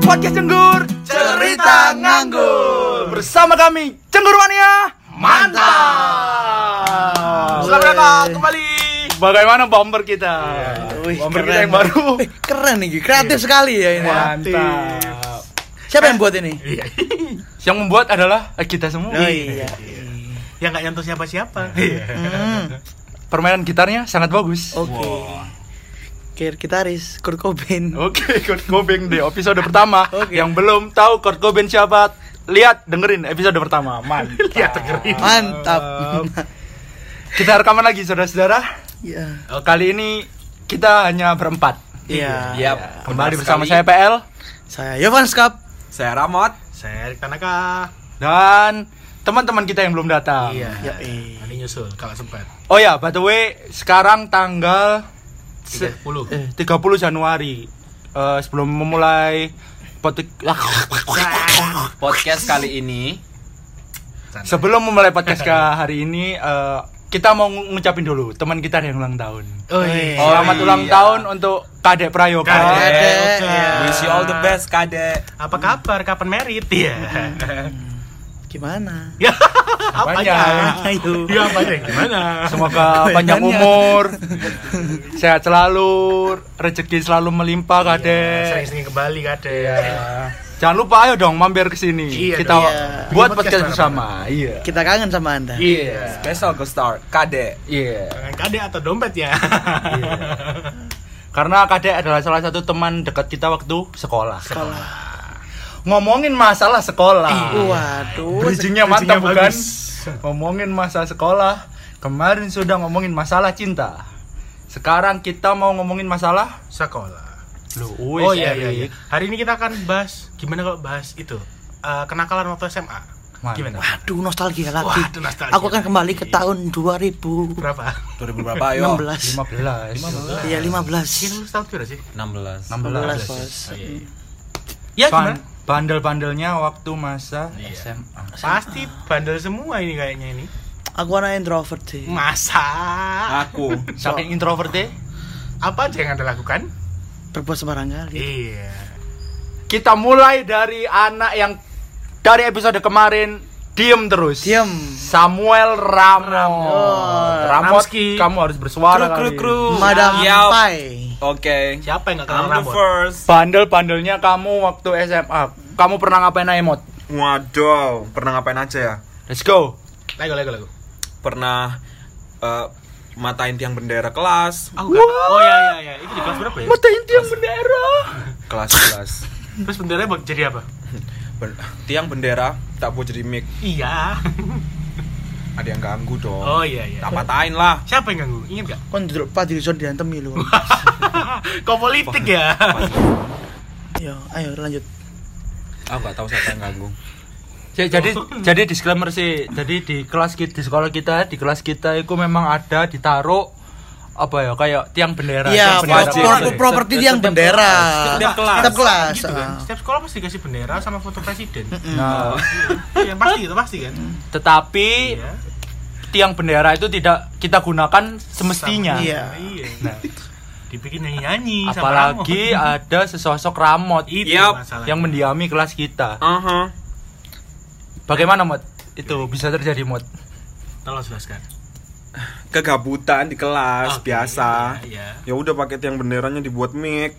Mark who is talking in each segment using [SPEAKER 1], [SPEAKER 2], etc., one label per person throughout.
[SPEAKER 1] podcast cenggur
[SPEAKER 2] Cerita Nganggur.
[SPEAKER 1] bersama kami cenggur mania
[SPEAKER 2] Mantap.
[SPEAKER 1] selamat
[SPEAKER 2] Weh.
[SPEAKER 1] datang kembali bagaimana bomber kita Wih, bomber kita yang baru
[SPEAKER 2] Eh, keren nih, kreatif
[SPEAKER 3] Iya.
[SPEAKER 2] sekali ya ini.
[SPEAKER 1] mantap
[SPEAKER 2] Siapa yang buat ini?
[SPEAKER 3] Eh,
[SPEAKER 2] Oh,
[SPEAKER 1] yang membuat adalah eh, kita semua
[SPEAKER 3] iya. yang Ya, nggak nyentuh siapa-siapa.
[SPEAKER 2] iya. Hmm,
[SPEAKER 1] permainan gitarnya sangat bagus
[SPEAKER 2] Oke. Kir Gitaris Kurt Cobain.
[SPEAKER 3] Oh.
[SPEAKER 1] Oke, Kurt Cobain di episode pertama.
[SPEAKER 2] Oke.
[SPEAKER 1] Yang belum tahu Kurt Cobain siapa, lihat dengerin episode pertama. Mantap. lihat dengerin.
[SPEAKER 2] Mantap.
[SPEAKER 1] Kita rekaman lagi saudara-saudara.
[SPEAKER 2] Iya.
[SPEAKER 1] Kali ini kita hanya berempat.
[SPEAKER 2] Iya.
[SPEAKER 1] Kembali bersama saya PL
[SPEAKER 2] Saya Yovan Skap.
[SPEAKER 4] Saya Ramot.
[SPEAKER 3] Saya Erik Tanaka.
[SPEAKER 1] dan teman-teman kita yang belum datang.
[SPEAKER 3] Iya.
[SPEAKER 2] Ya,
[SPEAKER 3] Nanti nyusul kalau sempat.
[SPEAKER 1] Oh ya, by the way, sekarang tanggal se-
[SPEAKER 3] 30.
[SPEAKER 1] eh, 30 Januari. Eh, sebelum memulai Ah, potik-
[SPEAKER 4] Podcast kali ini
[SPEAKER 1] Sebelum memulai podcast ke hari ini, eh, kita mau ngu- ngucapin dulu teman kita ada yang ulang tahun.
[SPEAKER 3] Oh,
[SPEAKER 2] iya.
[SPEAKER 4] Oh,
[SPEAKER 1] Selamat
[SPEAKER 4] iya.
[SPEAKER 1] ulang tahun untuk Kadek Prayoga.
[SPEAKER 3] Kadek.
[SPEAKER 2] Kadek.
[SPEAKER 3] Oke.
[SPEAKER 2] ya.
[SPEAKER 4] wish you all the best Kade.
[SPEAKER 3] Apa kabar? Kapan merit? Iya. Ya.
[SPEAKER 2] Gimana?
[SPEAKER 1] Apanya?
[SPEAKER 2] Ayo.
[SPEAKER 3] Iya, apa deh? Gimana?
[SPEAKER 1] Semoga panjang umur, sehat selalu, rezeki selalu melimpah
[SPEAKER 3] Iya,
[SPEAKER 1] Kadek.
[SPEAKER 3] Ya, Sering-sering ke Bali kade.
[SPEAKER 1] Jangan lupa ayo dong mampir ke sini.
[SPEAKER 3] Iya
[SPEAKER 1] kita
[SPEAKER 2] dong. Iya.
[SPEAKER 1] buat
[SPEAKER 3] Bikin
[SPEAKER 1] podcast
[SPEAKER 3] podcast
[SPEAKER 1] bersama. Iya.
[SPEAKER 2] Kita kangen sama Anda.
[SPEAKER 1] Iya.
[SPEAKER 4] Special guest star Kade.
[SPEAKER 1] Iya.
[SPEAKER 3] Jangan kade atau dompet ya.
[SPEAKER 1] Karena Kadek adalah salah satu teman dekat kita waktu sekolah. Ngomongin masalah sekolah.
[SPEAKER 2] Waduh.
[SPEAKER 1] Bridgingnya mantap
[SPEAKER 3] Iya. Bridgingnya
[SPEAKER 1] bukan?
[SPEAKER 3] bagus.
[SPEAKER 1] Ngomongin masa sekolah Kemarin sudah ngomongin masalah cinta Sekarang kita mau ngomongin masalah
[SPEAKER 3] Sekolah.
[SPEAKER 1] Lu
[SPEAKER 3] Oh iya, iya, iya. Hari ini kita akan bahas gimana kalau bahas itu eh, kenakalan waktu SMA.
[SPEAKER 1] Mantap.
[SPEAKER 3] Gimana?
[SPEAKER 2] Aduh nostalgia lagi.
[SPEAKER 3] Waduh, nostalgia.
[SPEAKER 2] Aku akan kembali ke tahun 2016.
[SPEAKER 3] Berapa?
[SPEAKER 4] 2000 berapa yo?
[SPEAKER 1] 15
[SPEAKER 2] Iya, 15.
[SPEAKER 3] Mungkin lu setahun berapa sih?
[SPEAKER 4] 16.
[SPEAKER 2] 16
[SPEAKER 1] 16
[SPEAKER 2] bos.
[SPEAKER 3] Oh, iya, iya.
[SPEAKER 1] Ya
[SPEAKER 3] gimana?
[SPEAKER 1] Bandel-bandelnya waktu masa
[SPEAKER 3] Iya.
[SPEAKER 1] SMA
[SPEAKER 3] Pasti bandel semua ini kayaknya ini.
[SPEAKER 2] Aku anak introvert sih.
[SPEAKER 3] Masa?
[SPEAKER 4] Aku.
[SPEAKER 1] Saking introvertnya
[SPEAKER 3] apa aja yang anda lakukan?
[SPEAKER 2] Berbuat sembarang kali.
[SPEAKER 3] Iya.
[SPEAKER 1] Kita mulai dari anak yang Dari episode kemarin Diem terus
[SPEAKER 2] Diem.
[SPEAKER 1] Samuel Ramon Ramon
[SPEAKER 3] Ramski.
[SPEAKER 1] kamu harus bersuara
[SPEAKER 4] Kru, kru,
[SPEAKER 1] kali.
[SPEAKER 4] kru.
[SPEAKER 2] Madam
[SPEAKER 4] Yap.
[SPEAKER 2] Pai.
[SPEAKER 4] Oke.
[SPEAKER 3] Siapa yang gak kenal
[SPEAKER 4] I'm the
[SPEAKER 3] rambut?
[SPEAKER 4] first.
[SPEAKER 1] Bandel-bandelnya kamu waktu SMA. Kamu pernah ngapain aja, Mot?
[SPEAKER 4] Waduh, pernah ngapain aja ya?
[SPEAKER 1] Let's go.
[SPEAKER 3] Lego, lego, lego.
[SPEAKER 4] Pernah eh, matain tiang bendera kelas,
[SPEAKER 3] Aku gak tahu. Oh iya, iya, iya. Itu di kelas berapa ya?
[SPEAKER 1] Matain tiang bendera.
[SPEAKER 4] kelas 11.
[SPEAKER 3] Terus benderanya bak- ya, jadi apa?
[SPEAKER 4] Ben- tiang bendera tak buat jadi mic,
[SPEAKER 3] Iya.
[SPEAKER 4] ada yang ganggu dong.
[SPEAKER 3] Oh iya, iya.
[SPEAKER 4] Tak patahin lah.
[SPEAKER 3] Siapa yang ganggu? Ingat gak?
[SPEAKER 2] Kon duduk Pak Dirison diantem ya, lu.
[SPEAKER 3] Kau politik ya?
[SPEAKER 2] Yo, ayo lanjut.
[SPEAKER 4] Aku gak tahu siapa yang ganggu.
[SPEAKER 1] jadi jadi disclaimer sih. Jadi di kelas kita di sekolah kita, di kelas kita itu memang ada ditaruh apa ya kayak tiang bendera
[SPEAKER 2] Iya,
[SPEAKER 1] tiang bendera. gitu.
[SPEAKER 4] wajib.
[SPEAKER 2] pro- pro- properti yang bendera.
[SPEAKER 4] Setiap kelas.
[SPEAKER 2] Setiap kelas.
[SPEAKER 3] Gitu
[SPEAKER 2] ah.
[SPEAKER 3] kan? Setiap sekolah pasti dikasih bendera sama foto presiden.
[SPEAKER 1] Nah,
[SPEAKER 3] Iya, pasti itu pasti kan.
[SPEAKER 1] tetapi
[SPEAKER 3] Iya.
[SPEAKER 1] tiang bendera itu tidak kita gunakan semestinya
[SPEAKER 2] Iya.
[SPEAKER 3] Iya.
[SPEAKER 1] Nah.
[SPEAKER 3] Dibikin nyanyi-nyanyi
[SPEAKER 1] Iya.
[SPEAKER 3] sama
[SPEAKER 1] apalagi
[SPEAKER 3] Ramon.
[SPEAKER 1] ada sesosok Ramot
[SPEAKER 3] itu
[SPEAKER 4] Yap,
[SPEAKER 3] masalah.
[SPEAKER 1] yang mendiami kelas kita
[SPEAKER 4] Aha.
[SPEAKER 1] bagaimana Mot? itu bisa terjadi Mot?
[SPEAKER 3] tolong jelaskan.
[SPEAKER 4] Kegabutan di kelas
[SPEAKER 3] Oke,
[SPEAKER 4] biasa.
[SPEAKER 3] Iya, iya.
[SPEAKER 4] ya udah pakai tiang benderanya dibuat mic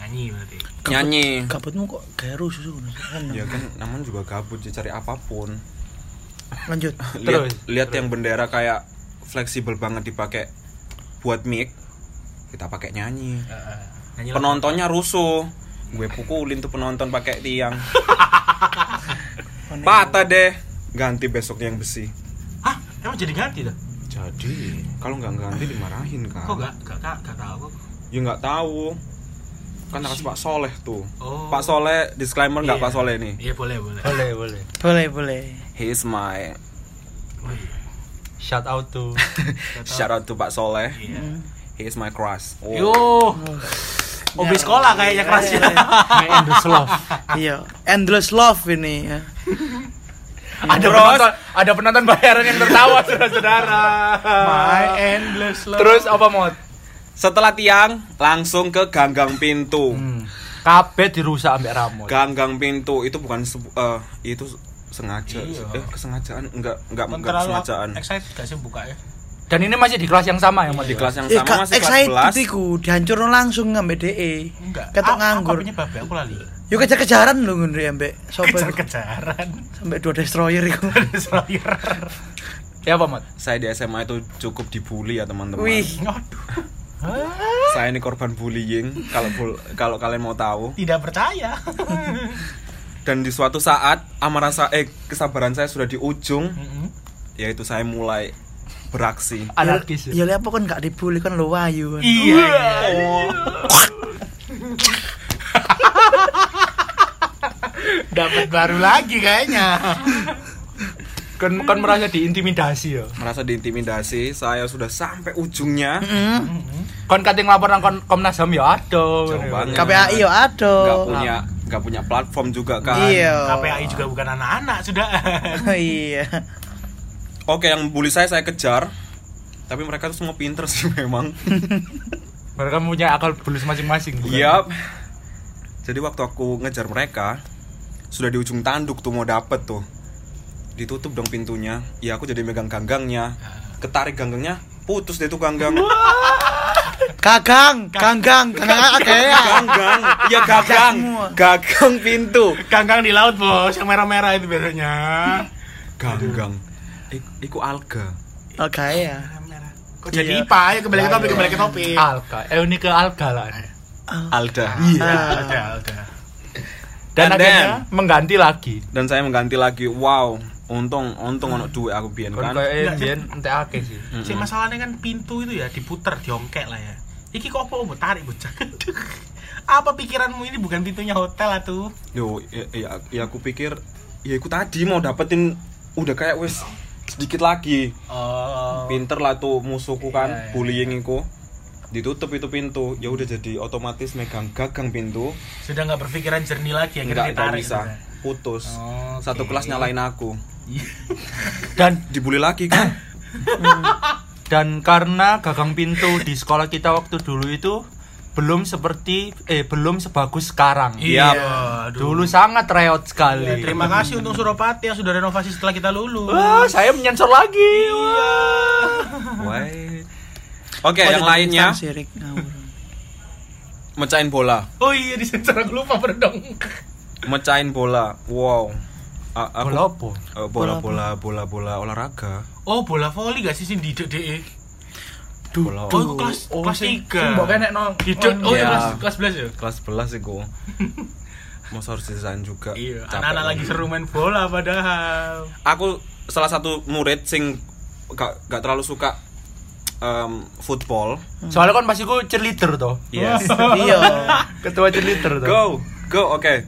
[SPEAKER 3] Nyanyi berarti.
[SPEAKER 4] nyanyi
[SPEAKER 2] Kabutmu kok garu susu. Kan,
[SPEAKER 4] ya kan namanya juga gabut ya cari apapun
[SPEAKER 2] Lanjut.
[SPEAKER 4] lihat
[SPEAKER 1] Terus.
[SPEAKER 4] lihat yang bendera kayak fleksibel banget dipakai buat mic kita pakai nyanyi
[SPEAKER 3] Heeh. Nyanyi lah.
[SPEAKER 4] penontonnya rusuh gue pukulin tuh penonton pakai tiang patah deh ganti besoknya yang besi
[SPEAKER 3] Hah? Ah, Emang jadi ganti dah?
[SPEAKER 4] jadi kalau nggak ganti dimarahin
[SPEAKER 3] Kok
[SPEAKER 4] kan
[SPEAKER 3] gak, gak, gak, gak tau kok
[SPEAKER 4] ya nggak tahu kan harus Pak Soleh tuh
[SPEAKER 3] Oh.
[SPEAKER 4] Pak Soleh disclaimer nggak
[SPEAKER 3] Iya.
[SPEAKER 4] Pak Soleh nih
[SPEAKER 3] Iya boleh, boleh
[SPEAKER 1] boleh boleh
[SPEAKER 2] Boleh, boleh.
[SPEAKER 4] he is my
[SPEAKER 3] Oh, iya.
[SPEAKER 1] shout out to
[SPEAKER 4] shout out to Pak Soleh
[SPEAKER 3] Iya
[SPEAKER 2] Hmm.
[SPEAKER 4] He is my crush. Oh.
[SPEAKER 3] Yo,
[SPEAKER 1] Oh.
[SPEAKER 3] hobi sekolah kayaknya
[SPEAKER 1] Iya,
[SPEAKER 3] kelasnya.
[SPEAKER 1] my endless love
[SPEAKER 2] Iya, endless love ini ya.
[SPEAKER 1] ada penonton ada penonton bayaran yang tertawa saudara-saudara
[SPEAKER 3] endless
[SPEAKER 1] terus apa mod Hmm.
[SPEAKER 4] Setelah tiang, langsung ke ganggang pintu.
[SPEAKER 1] kabeh dirusak ambek rambut
[SPEAKER 4] ganggang pintu itu bukan sebu- eh, itu sengaja
[SPEAKER 3] Iya.
[SPEAKER 4] eh kesengajaan enggak enggak
[SPEAKER 3] Kan
[SPEAKER 4] enggak
[SPEAKER 3] terlalu
[SPEAKER 4] kesengajaan
[SPEAKER 3] excited gak sih buka ya?
[SPEAKER 1] dan ini masih di kelas yang sama ya, yang
[SPEAKER 4] di kelas yang
[SPEAKER 2] Eh,
[SPEAKER 4] sama
[SPEAKER 2] ka-
[SPEAKER 4] masih
[SPEAKER 2] excited
[SPEAKER 4] kelas 11
[SPEAKER 2] iku dihancurno langsung ngambil DE.
[SPEAKER 3] Enggak.
[SPEAKER 2] Ketok
[SPEAKER 3] Ah,
[SPEAKER 2] nganggur.
[SPEAKER 3] Apa penyebabnya aku lali?
[SPEAKER 2] Yo kejar-kejaran lho ngono ambek sapa iku?
[SPEAKER 3] Kejar-kejaran.
[SPEAKER 2] Sampai dua destroyer iku.
[SPEAKER 3] Destroyer.
[SPEAKER 1] ya apa mat
[SPEAKER 4] saya di SMA itu cukup dibully ya teman-teman
[SPEAKER 2] Wih,
[SPEAKER 3] Aduh.
[SPEAKER 4] saya ini korban bullying kalau bul- kalau kalian mau tahu
[SPEAKER 3] Tidak percaya.
[SPEAKER 4] dan di suatu saat amarah saya eh, kesabaran saya sudah di ujung
[SPEAKER 3] Mm-mm.
[SPEAKER 4] yaitu saya mulai beraksi
[SPEAKER 1] anarkis ya.
[SPEAKER 2] Ya lha apa kon gak dibully kon lo wayu. kan.
[SPEAKER 3] Iya. iya. Dapat baru lagi kayaknya.
[SPEAKER 1] kan kan merasa diintimidasi ya
[SPEAKER 4] merasa diintimidasi saya sudah sampai ujungnya
[SPEAKER 2] Mm,
[SPEAKER 1] kon kating lapor nang kon komnas ham ya aduh
[SPEAKER 4] Jauh banget.
[SPEAKER 2] KPAI yo
[SPEAKER 4] nggak
[SPEAKER 2] aduh.
[SPEAKER 4] punya nggak punya platform juga kan
[SPEAKER 2] Iya.
[SPEAKER 3] KPAI juga bukan anak-anak sudah.
[SPEAKER 2] Iya.
[SPEAKER 4] oke yang bully saya saya kejar tapi mereka tuh semua pinter sih memang
[SPEAKER 1] mereka punya akal bulus masing-masing bukan?
[SPEAKER 4] Yap. Jadi waktu aku ngejar mereka sudah di ujung tanduk tuh mau dapet tuh. Ditutup dong pintunya. Ya aku jadi megang ganggangnya. Ketarik ganggangnya, putus deh tuh ganggang.
[SPEAKER 2] Gagang, ganggang, ya. ganggang akeh.
[SPEAKER 4] ganggang. Ya gagang.
[SPEAKER 2] Semua.
[SPEAKER 4] Gagang pintu.
[SPEAKER 3] Kangkang di laut bos, yang merah-merah itu biasanya.
[SPEAKER 4] Ganggang. Ik- Iku alga.
[SPEAKER 2] Oke ya.
[SPEAKER 3] Merah. Kok
[SPEAKER 2] Iya.
[SPEAKER 3] jadi IPA ya kembali ke topik, kembali ke topik.
[SPEAKER 1] alga eh ini ke alga lah
[SPEAKER 2] Oh.
[SPEAKER 4] Alda.
[SPEAKER 3] Ah. iya. udah, udah.
[SPEAKER 1] dan
[SPEAKER 4] And
[SPEAKER 1] akhirnya
[SPEAKER 4] then-
[SPEAKER 1] mengganti lagi
[SPEAKER 4] Dan saya mengganti lagi. Wow. Untung untung ono duit aku biyen
[SPEAKER 1] kon
[SPEAKER 4] kan.
[SPEAKER 1] kayak biyen entek akeh sih
[SPEAKER 3] Si masalahnya kan pintu itu ya diputer, diongkek lah ya. Iki kok apa mau tarik bocah? apa pikiranmu ini bukan pintunya hotel atuh?
[SPEAKER 4] Yo, ya, ya, ya aku pikir ya aku tadi mau dapetin udah kayak wes sedikit lagi
[SPEAKER 3] Oh.
[SPEAKER 4] pinter lah tuh musuhku kan
[SPEAKER 3] Iya, iya.
[SPEAKER 4] bullying iku ditutup itu pintu ya udah jadi otomatis megang gagang pintu
[SPEAKER 3] Sudah nggak berpikiran jernih lagi ya kita
[SPEAKER 4] nggak nggak
[SPEAKER 3] ditarik.
[SPEAKER 4] bisa
[SPEAKER 3] sudah.
[SPEAKER 4] putus
[SPEAKER 3] Oh, oke.
[SPEAKER 4] satu kelas nyalain aku
[SPEAKER 1] dan
[SPEAKER 4] dibully lagi kan
[SPEAKER 1] dan karena gagang pintu di sekolah kita waktu dulu itu belum seperti eh belum sebagus sekarang
[SPEAKER 3] Iya. aduh.
[SPEAKER 1] dulu sangat reot sekali
[SPEAKER 3] Ya, terima kasih untuk Suropati yang sudah renovasi setelah kita lulus.
[SPEAKER 1] Wah, saya menyensor lagi
[SPEAKER 4] Wah. oke Ya,
[SPEAKER 3] Oh,
[SPEAKER 4] yang lainnya
[SPEAKER 2] Oh, Sirik ngawur.
[SPEAKER 4] mecahin bola
[SPEAKER 3] Oh iya di sensor aku lupa berdong.
[SPEAKER 4] mecahin bola wow A- aku-
[SPEAKER 1] bola apa?
[SPEAKER 4] eh, bola bola bola bola olahraga
[SPEAKER 3] Oh bola voli gak sih sih didek deh?
[SPEAKER 4] bola
[SPEAKER 3] Oh itu kelas kelas tiga.
[SPEAKER 1] Mbok kene nong.
[SPEAKER 3] Didek. Oh iya kelas
[SPEAKER 4] Iya.
[SPEAKER 3] kelas belas ya.
[SPEAKER 4] kelas 11 sih gua masa harus desain juga
[SPEAKER 3] Iya.
[SPEAKER 4] Capek
[SPEAKER 3] Anak-anak lagi seru main bola padahal.
[SPEAKER 4] aku salah satu murid sing gak, gak terlalu suka em, football.
[SPEAKER 1] Soalnya kan pasti ku cheerleader toh.
[SPEAKER 4] Yes.
[SPEAKER 2] Iya.
[SPEAKER 1] Ketua cheerleader toh.
[SPEAKER 4] go, go, oke.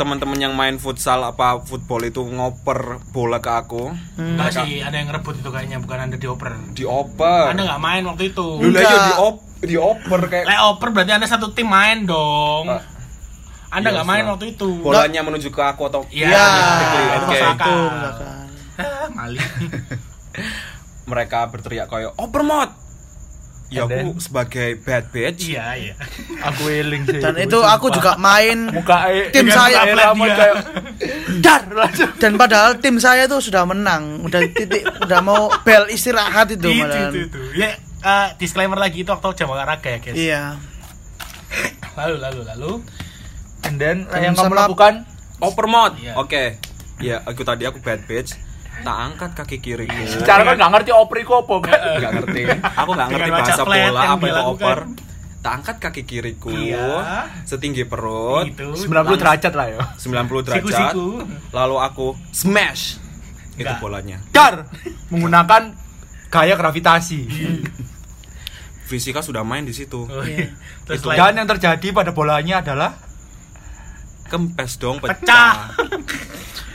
[SPEAKER 4] Teman-teman yang main futsal apa football itu ngoper bola ke aku,
[SPEAKER 3] Enggak sih ada yang ngerebut itu kayaknya bukan anda dioper.
[SPEAKER 4] dioper.
[SPEAKER 3] Anda nggak main waktu itu.
[SPEAKER 4] Lu lah yo
[SPEAKER 2] Enggak.
[SPEAKER 4] diop, dioper kayak
[SPEAKER 3] Lah oper berarti anda satu tim main dong.
[SPEAKER 4] Eh,
[SPEAKER 3] Anda
[SPEAKER 4] iya,
[SPEAKER 3] nggak main
[SPEAKER 4] Ustaz.
[SPEAKER 3] waktu itu.
[SPEAKER 4] bolanya menuju ke aku atau
[SPEAKER 3] Iya.
[SPEAKER 2] Ya,
[SPEAKER 3] Itu
[SPEAKER 4] Oke.
[SPEAKER 3] masuk akal.
[SPEAKER 2] belakang.
[SPEAKER 3] Hah, Mali.
[SPEAKER 4] mereka berteriak kayak opermot. Ya
[SPEAKER 1] And then?
[SPEAKER 4] aku sebagai bad bitch.
[SPEAKER 3] Iya iya.
[SPEAKER 1] Aku eling sih.
[SPEAKER 2] Dan itu aku juga main
[SPEAKER 1] muka eh,
[SPEAKER 2] Tim
[SPEAKER 1] dengan
[SPEAKER 2] saya.
[SPEAKER 1] muka Ramon
[SPEAKER 3] Dia.
[SPEAKER 1] kayak
[SPEAKER 2] dar
[SPEAKER 1] langsung.
[SPEAKER 2] dan padahal tim saya tuh sudah menang, udah titik udah mau bel istirahat itu
[SPEAKER 3] Itu
[SPEAKER 2] malahan.
[SPEAKER 3] itu itu. Ya eh, disclaimer lagi itu waktu jam olahraga ya guys.
[SPEAKER 2] Iya.
[SPEAKER 3] Lalu lalu lalu.
[SPEAKER 1] And then yang
[SPEAKER 2] Dan
[SPEAKER 1] kamu
[SPEAKER 2] sama-
[SPEAKER 1] lakukan
[SPEAKER 4] Opermot.
[SPEAKER 3] Iya.
[SPEAKER 4] Oke. Ya, aku tadi aku bad bitch. Tak angkat kaki
[SPEAKER 3] Iya.
[SPEAKER 4] kiriku.
[SPEAKER 1] secara kan nggak ngerti oper iku apa kan.
[SPEAKER 4] nggak ngerti aku nggak ngerti
[SPEAKER 3] Dengan baca
[SPEAKER 4] bahasa
[SPEAKER 3] flat
[SPEAKER 4] bola
[SPEAKER 3] yang
[SPEAKER 4] apa itu
[SPEAKER 3] dilakukan.
[SPEAKER 4] oper tak angkat kaki kiriku
[SPEAKER 3] kan. Iya.
[SPEAKER 4] setinggi perut
[SPEAKER 3] Itu.
[SPEAKER 1] 90 derajat lah ya.
[SPEAKER 4] 90 derajat
[SPEAKER 3] Siku-siku.
[SPEAKER 4] lalu aku smash itu
[SPEAKER 3] Nggak.
[SPEAKER 4] bolanya
[SPEAKER 1] Dar menggunakan gaya gravitasi.
[SPEAKER 4] fisika sudah main di situ
[SPEAKER 3] Oh, iya. Terus lain-
[SPEAKER 1] Dan yang terjadi pada bolanya adalah
[SPEAKER 4] kempes dong
[SPEAKER 3] Pecah.
[SPEAKER 4] pecah,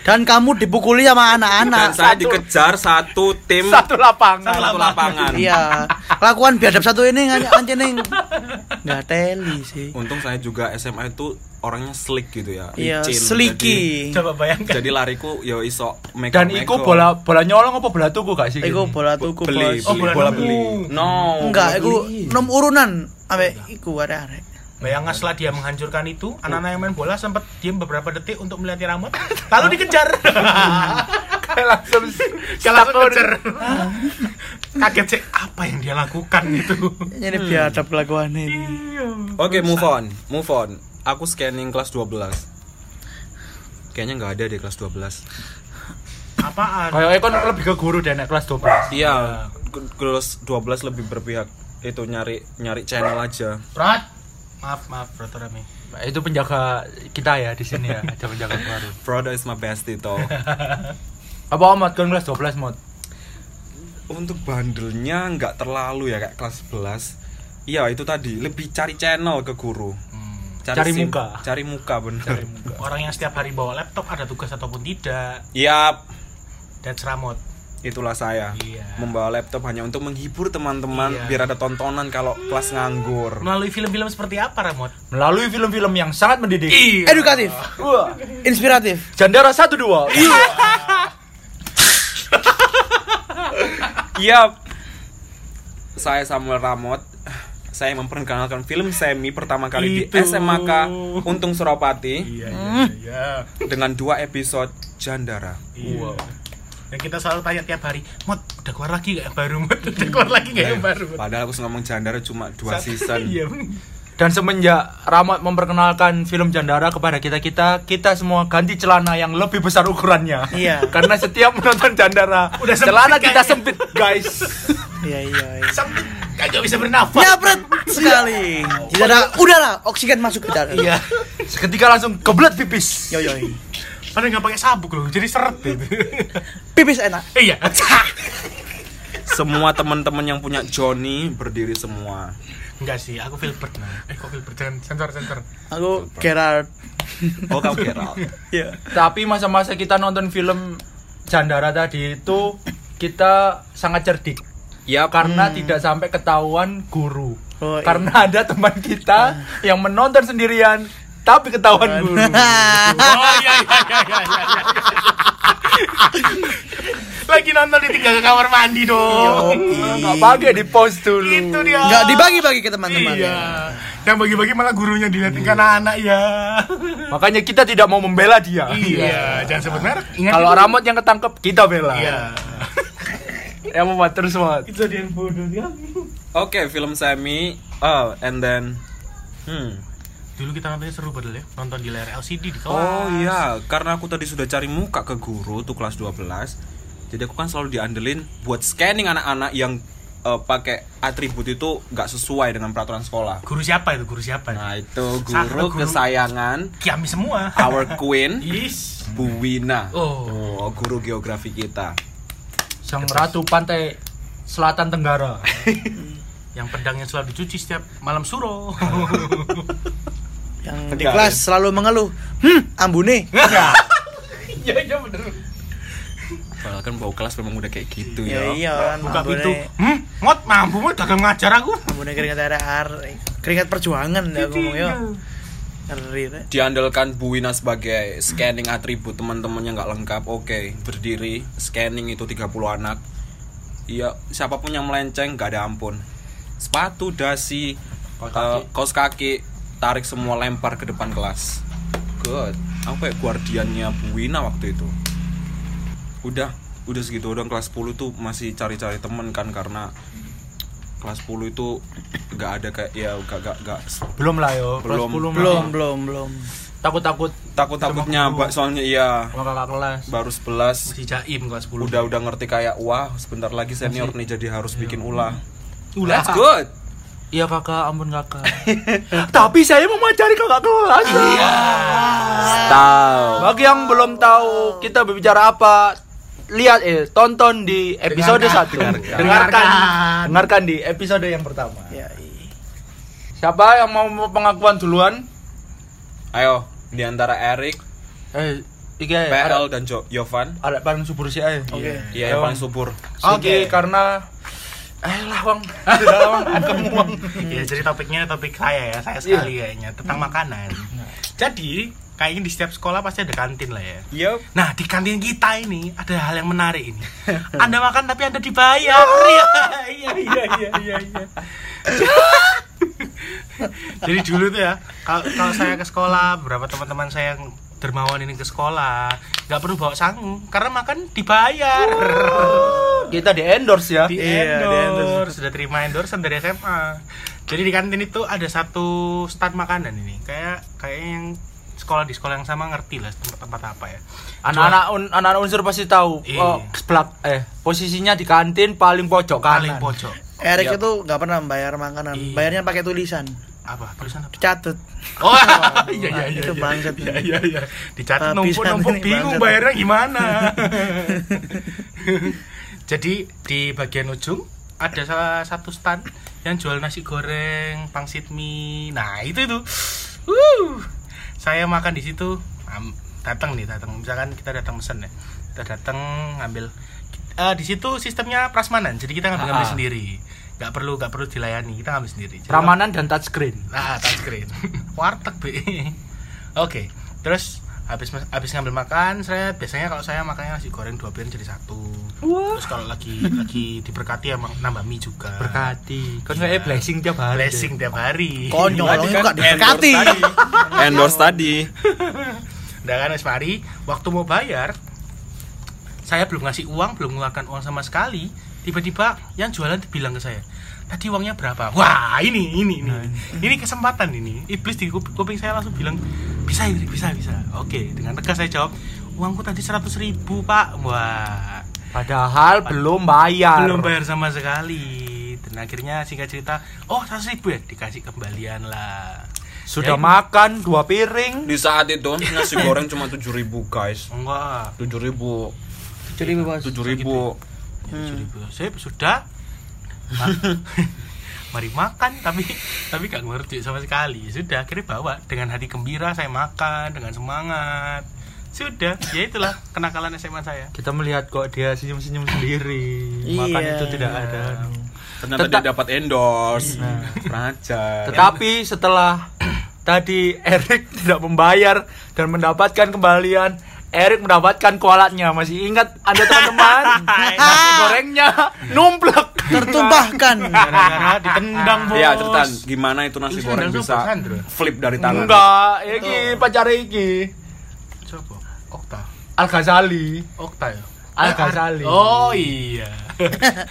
[SPEAKER 2] Dan kamu dipukuli sama
[SPEAKER 4] dan
[SPEAKER 2] anak-anak.
[SPEAKER 4] saya dikejar satu tim satu,
[SPEAKER 1] satu lapangan.
[SPEAKER 4] lapangan
[SPEAKER 2] Iya. Lakuan biadab satu ini nganyi anjing nggak teli sih.
[SPEAKER 4] untung saya juga SMA itu orangnya slick gitu ya
[SPEAKER 2] Iya,
[SPEAKER 4] licin.
[SPEAKER 2] seliki.
[SPEAKER 3] Coba
[SPEAKER 4] jadi,
[SPEAKER 3] bayangkan.
[SPEAKER 4] jadi lariku yo iso mega
[SPEAKER 1] Dan iku bola bola nyolong apa bola tuku gak sih?
[SPEAKER 2] Iku
[SPEAKER 1] gini?
[SPEAKER 2] bola tuku,
[SPEAKER 4] beli,
[SPEAKER 2] Bos.
[SPEAKER 3] Oh, bola
[SPEAKER 4] bola
[SPEAKER 3] nemu.
[SPEAKER 4] beli no
[SPEAKER 2] Enggak,
[SPEAKER 4] bola
[SPEAKER 2] iku
[SPEAKER 4] beli.
[SPEAKER 2] nom urunan ambek iku arek-arek.
[SPEAKER 3] Bayangkan setelah dia menghancurkan itu, anak-anak yang main bola sempat diam beberapa detik untuk melihat rambut, lalu dikejar.
[SPEAKER 1] Kayak langsung
[SPEAKER 3] Kalau dikejar. Kaget sih apa yang dia lakukan itu.
[SPEAKER 2] Ini biadab lakuan ini.
[SPEAKER 4] Oke, move on, move on. Aku scanning kelas 12. Kayaknya nggak ada deh kelas 12.
[SPEAKER 3] Apaan?
[SPEAKER 1] Kayaknya kan lebih ke guru deh nek kelas 12.
[SPEAKER 4] Iya, ke- kelas 12 lebih berpihak itu nyari nyari channel aja.
[SPEAKER 3] Prat. Maaf, maaf, Broto Rami.
[SPEAKER 1] Itu penjaga kita ya di sini ya, ada penjaga baru.
[SPEAKER 4] Broda is my best itu.
[SPEAKER 1] Apa Omot kan kelas 12 mod?
[SPEAKER 4] Untuk bandelnya nggak terlalu ya kayak kelas 11. Iya, itu tadi lebih cari channel ke guru.
[SPEAKER 3] Hmm.
[SPEAKER 1] Cari
[SPEAKER 4] sim-
[SPEAKER 1] muka.
[SPEAKER 4] Cari muka bener.
[SPEAKER 3] Orang yang setiap hari bawa laptop ada tugas ataupun tidak,
[SPEAKER 4] Yap,
[SPEAKER 3] dan seramot.
[SPEAKER 4] itulah saya.
[SPEAKER 3] Iya.
[SPEAKER 4] Membawa laptop hanya untuk menghibur teman-teman
[SPEAKER 3] Iya.
[SPEAKER 4] biar ada tontonan kalau kelas nganggur.
[SPEAKER 3] Melalui film-film seperti apa, Ramot?
[SPEAKER 1] Melalui film-film yang sangat mendidik.
[SPEAKER 3] Iya.
[SPEAKER 2] Edukatif,
[SPEAKER 1] Wah,
[SPEAKER 2] inspiratif.
[SPEAKER 1] Jandara 1 2. Iya.
[SPEAKER 4] Yap. Saya Samuel Ramot. Saya memperkenalkan film semi pertama kali di
[SPEAKER 3] Itu.
[SPEAKER 4] SMK Untung Suropati
[SPEAKER 3] Iya, iya, iya.
[SPEAKER 4] dengan dua episode Jandara.
[SPEAKER 3] Iya. Dan kita selalu tanya tiap hari, Mot, udah keluar lagi gak yang baru, Mot? Udah keluar lagi gak yang baru, Mot?
[SPEAKER 4] Padahal aku ngomong Jandara cuma dua
[SPEAKER 3] Satu-
[SPEAKER 4] season.
[SPEAKER 3] Iya, bener.
[SPEAKER 1] Dan semenjak Ramot memperkenalkan film Jandara kepada kita-kita, kita semua ganti celana yang lebih besar ukurannya.
[SPEAKER 2] Iya.
[SPEAKER 1] Karena setiap menonton Jandara,
[SPEAKER 3] Udah sempit
[SPEAKER 1] celana kita
[SPEAKER 3] kayaknya.
[SPEAKER 1] sempit, guys.
[SPEAKER 2] Iya iya. iya.
[SPEAKER 3] Sempit, kagak bisa bernafas.
[SPEAKER 2] Nyapret sekali. Tidak ada udara, oksigen masuk ke dalam.
[SPEAKER 3] Iya.
[SPEAKER 1] Seketika langsung keblet pipis.
[SPEAKER 2] Yo yo.
[SPEAKER 3] Padahal gak pakai sabuk loh, jadi seret gitu.
[SPEAKER 2] Pipis enak.
[SPEAKER 3] Iya.
[SPEAKER 4] Semua teman-teman yang punya Johnny berdiri semua.
[SPEAKER 3] Enggak sih, aku Filbert. Nah. Eh, kok Filbert? Jangan sensor, sensor.
[SPEAKER 2] Aku Gerard.
[SPEAKER 4] Oh kamu Gerald.
[SPEAKER 2] Iya.
[SPEAKER 1] Tapi masa-masa kita nonton film Jandara tadi itu kita sangat cerdik
[SPEAKER 4] Yap.
[SPEAKER 1] karena tidak sampai ketahuan guru.
[SPEAKER 2] Hmm. Oh, iya.
[SPEAKER 1] Karena ada teman kita yang menonton sendirian tapi ketahuan guru.
[SPEAKER 2] Ah,
[SPEAKER 3] Oh, iya, iya, iya, iya, iya, iya. Lagi nonton di tiga kamar mandi
[SPEAKER 2] Oh,
[SPEAKER 3] dong.
[SPEAKER 2] iya.
[SPEAKER 1] Enggak pakai di pause dulu.
[SPEAKER 3] Itu dia.
[SPEAKER 2] Enggak dibagi-bagi ke teman-teman.
[SPEAKER 3] Iya. Yang bagi-bagi malah gurunya dilihatin anak ya.
[SPEAKER 1] Makanya kita tidak mau membela dia.
[SPEAKER 3] Iya, jangan sebut merek. Ingat
[SPEAKER 1] Kalau
[SPEAKER 3] itu.
[SPEAKER 1] Ramot yang ketangkep kita bela.
[SPEAKER 3] Iya.
[SPEAKER 1] Yang mau terus Mot.
[SPEAKER 3] Itu dia yang bodoh dia.
[SPEAKER 4] Oke, film semi. Oh, and then Hmm.
[SPEAKER 3] Dulu kita nontonnya seru padahal ya. Nonton di layar LCD di kelas.
[SPEAKER 4] Oh iya, karena aku tadi sudah cari muka ke guru tuh kelas 12. Jadi aku kan selalu diandelin buat scanning anak-anak yang eh, pakai atribut itu nggak sesuai dengan peraturan sekolah.
[SPEAKER 3] Guru siapa itu? Guru siapa? Nah,
[SPEAKER 4] Nah, itu
[SPEAKER 3] Sana
[SPEAKER 4] guru
[SPEAKER 3] guru.
[SPEAKER 4] kesayangan
[SPEAKER 3] Kiami semua.
[SPEAKER 4] our queen
[SPEAKER 3] Is.
[SPEAKER 4] Bu Wina.
[SPEAKER 3] Oh.
[SPEAKER 4] Oh, guru geografi kita.
[SPEAKER 1] Sang Ratu Pantai Selatan Tenggara.
[SPEAKER 3] Yang pedangnya selalu dicuci setiap malam suro.
[SPEAKER 2] Yang di
[SPEAKER 4] Tegak,
[SPEAKER 2] kelas selalu mengeluh. Hmm, ambune.
[SPEAKER 3] Iya, iya bener.
[SPEAKER 4] Padahal kan bau kelas memang udah kayak gitu
[SPEAKER 2] Ya
[SPEAKER 4] ya.
[SPEAKER 2] iya kan.
[SPEAKER 3] Buka
[SPEAKER 2] ambune-
[SPEAKER 3] pintu. Hmm, ngot mampu mot gagal ngajar aku.
[SPEAKER 2] Ambune keringat air air. Keringat perjuangan ya aku ngomong yo. Ngeri. Rek.
[SPEAKER 4] Diandalkan Bu Wina sebagai scanning atribut teman-temannya nggak lengkap. Oke, berdiri scanning itu 30 anak. Iya, siapapun yang melenceng nggak ada ampun. Sepatu, dasi,
[SPEAKER 1] Kaos
[SPEAKER 4] kaos
[SPEAKER 1] kaki.
[SPEAKER 4] kaki, kaos kaki tarik semua lempar ke depan kelas. Good. Aku kayak guardiannya Bu Wina waktu itu. Udah, udah segitu udah kelas 10 tuh masih cari-cari temen kan karena kelas 10 itu nggak ada kayak ya nggak nggak nggak
[SPEAKER 1] Belum lah yo. Kelas
[SPEAKER 4] Belum.
[SPEAKER 1] 10 mah.
[SPEAKER 2] Belum, belum, belum.
[SPEAKER 1] Takut-takut
[SPEAKER 4] takut-takutnya Mbak, soalnya iya
[SPEAKER 1] sama kakak kelas.
[SPEAKER 4] baru 11
[SPEAKER 3] Masih jaim kelas 10.
[SPEAKER 4] udah udah ngerti kayak wah sebentar lagi senior nih jadi harus bikin ulah
[SPEAKER 3] Ulah.
[SPEAKER 4] that's good
[SPEAKER 1] Iya kakak, ampun kakak. Tapi saya mau mengajari kakak kelas.
[SPEAKER 4] tahu
[SPEAKER 1] Bagi yang belum tahu kita berbicara apa, lihat eh tonton di episode
[SPEAKER 3] Dengarkan.
[SPEAKER 1] 1.
[SPEAKER 4] Dengarkan.
[SPEAKER 1] Dengarkan.
[SPEAKER 3] Dengarkan.
[SPEAKER 1] Dengarkan di episode yang pertama.
[SPEAKER 2] Ya. i-
[SPEAKER 1] Siapa yang mau pengakuan duluan?
[SPEAKER 4] ayo di antara Erik
[SPEAKER 1] Eh, iki ae,
[SPEAKER 4] PL
[SPEAKER 1] arek
[SPEAKER 4] dan Jo Yovan
[SPEAKER 1] arek paling subur sih ae.
[SPEAKER 2] Oke.
[SPEAKER 4] iya yang paling subur
[SPEAKER 1] Oke, karena eh lah wong, Sudah lah, wong, kamu wong.
[SPEAKER 3] Ya, jadi topiknya topik saya ya, saya sekali kayaknya tentang makanan. Jadi, kayaknya di setiap sekolah pasti ada kantin lah ya.
[SPEAKER 1] Iya.
[SPEAKER 4] yup
[SPEAKER 3] Nah, di kantin kita ini ada hal yang menarik ini. Anda makan tapi Oh! iya, Anda dibayar. Iya, iya, iya, iya, iya. Jadi dulu tuh ya, kalau kalau saya ke sekolah, beberapa teman-teman saya yang dermawan ini ke sekolah, nggak perlu bawa sangu karena makan dibayar.
[SPEAKER 1] Kita di endorse ya.
[SPEAKER 3] Oh! di
[SPEAKER 2] Iya, di
[SPEAKER 3] endorse sudah terima endorsean dari SMA jadi di kantin itu ada satu stand makanan ini kayak kayak yang sekolah di sekolah yang sama ngerti lah tempat-tempat apa ya
[SPEAKER 1] Anak-anak un- anak-anak unsur pasti tahu.
[SPEAKER 3] Iya.
[SPEAKER 1] Oh, sebelah- eh posisinya di kantin paling pojok kanan.
[SPEAKER 3] paling pojok
[SPEAKER 2] Erik itu nggak pernah bayar makanan,
[SPEAKER 3] Iya.
[SPEAKER 2] bayarnya pakai tulisan,
[SPEAKER 3] apa tulisan apa
[SPEAKER 2] catet.
[SPEAKER 3] oh iya iya iya
[SPEAKER 2] itu
[SPEAKER 3] iya.
[SPEAKER 2] bangsat.
[SPEAKER 3] iya iya iya dicatat
[SPEAKER 2] Tapi
[SPEAKER 3] numpuk numpuk
[SPEAKER 2] saat ini
[SPEAKER 3] bingung
[SPEAKER 2] bangsat.
[SPEAKER 3] bayarnya gimana jadi di bagian ujung ada salah satu stand yang jual nasi goreng pangsit mie nah itu itu Wuh. saya makan di situ am- datang nih datang misalkan kita datang pesan ya kita datang ngambil Eh, di situ sistemnya prasmanan jadi kita ngambil, ngambil
[SPEAKER 1] Ah.
[SPEAKER 3] sendiri nggak perlu nggak perlu dilayani kita ngambil sendiri Jadi
[SPEAKER 1] Ramanan dan touchscreen.
[SPEAKER 3] Nah, touchscreen. Warteg, Bi. Oke. Terus habis habis ngambil makan, saya biasanya kalau saya makannya nasi goreng dua piring jadi satu. Terus kalau lagi lagi diberkati emang nambah mie juga.
[SPEAKER 1] Berkati. Kan
[SPEAKER 3] Iya.
[SPEAKER 1] kayak blessing tiap hari.
[SPEAKER 3] Blessing tiap hari.
[SPEAKER 2] Konyol, ya.
[SPEAKER 4] Tadi
[SPEAKER 3] iya.
[SPEAKER 2] itu
[SPEAKER 4] kan
[SPEAKER 2] nggak
[SPEAKER 4] endorse
[SPEAKER 2] diberkati.
[SPEAKER 4] tadi. endorse tadi
[SPEAKER 3] Dan kan Mas Mari, waktu mau bayar saya belum ngasih uang, belum mengeluarkan uang sama sekali. Tiba-tiba yang jualan bilang ke saya, tadi uangnya berapa? Wah ini ini ini ini kesempatan ini. Iblis di kup- kuping saya langsung bilang bisa Iblis, bisa bisa. Oke dengan tegas saya jawab uangku tadi 100.000 ribu pak. Wah
[SPEAKER 1] Padahal belum bayar.
[SPEAKER 3] belum bayar sama sekali. Dan akhirnya singkat cerita, oh 100.000 ribu ya dikasih kembalian lah.
[SPEAKER 1] Sudah
[SPEAKER 3] Ya,
[SPEAKER 1] makan dua piring.
[SPEAKER 4] di saat itu nasi goreng cuma tujuh ribu guys
[SPEAKER 3] Enggak.
[SPEAKER 4] tujuh ribu
[SPEAKER 2] Jadi bebas.
[SPEAKER 4] tujuh ribu
[SPEAKER 3] ribu saya sudah Ma- mari makan tapi tapi gak ngeluarin duit sama sekali sudah akhirnya bawa dengan hati gembira saya makan dengan semangat sudah ya itulah kenakalan SMA saya
[SPEAKER 1] Kita melihat kok dia senyum-senyum sendiri. Makan
[SPEAKER 2] Iya.
[SPEAKER 1] itu tidak ada.
[SPEAKER 4] ternyata
[SPEAKER 1] Tetap-
[SPEAKER 4] dia dapat endorse raja
[SPEAKER 1] Tetapi setelah tadi Erik tidak membayar dan mendapatkan kembalian, Erik mendapatkan kualatnya. Masih ingat Anda teman-teman? Nasi gorengnya numplek.
[SPEAKER 2] Tertumpahkan.
[SPEAKER 3] gara-gara ditendang bos
[SPEAKER 4] Iya cerita gimana itu
[SPEAKER 3] Itu
[SPEAKER 4] nasi goreng
[SPEAKER 3] sandal
[SPEAKER 4] bisa
[SPEAKER 3] sopo, Sandro?
[SPEAKER 4] flip dari tangan
[SPEAKER 1] Enggak, iki pacar iki.
[SPEAKER 3] coba Okta
[SPEAKER 1] Al Ghazali.
[SPEAKER 3] Okta ya
[SPEAKER 1] Al
[SPEAKER 3] Eh,
[SPEAKER 4] Ah,
[SPEAKER 3] Ar-
[SPEAKER 1] Ghazali.
[SPEAKER 3] Oh iya.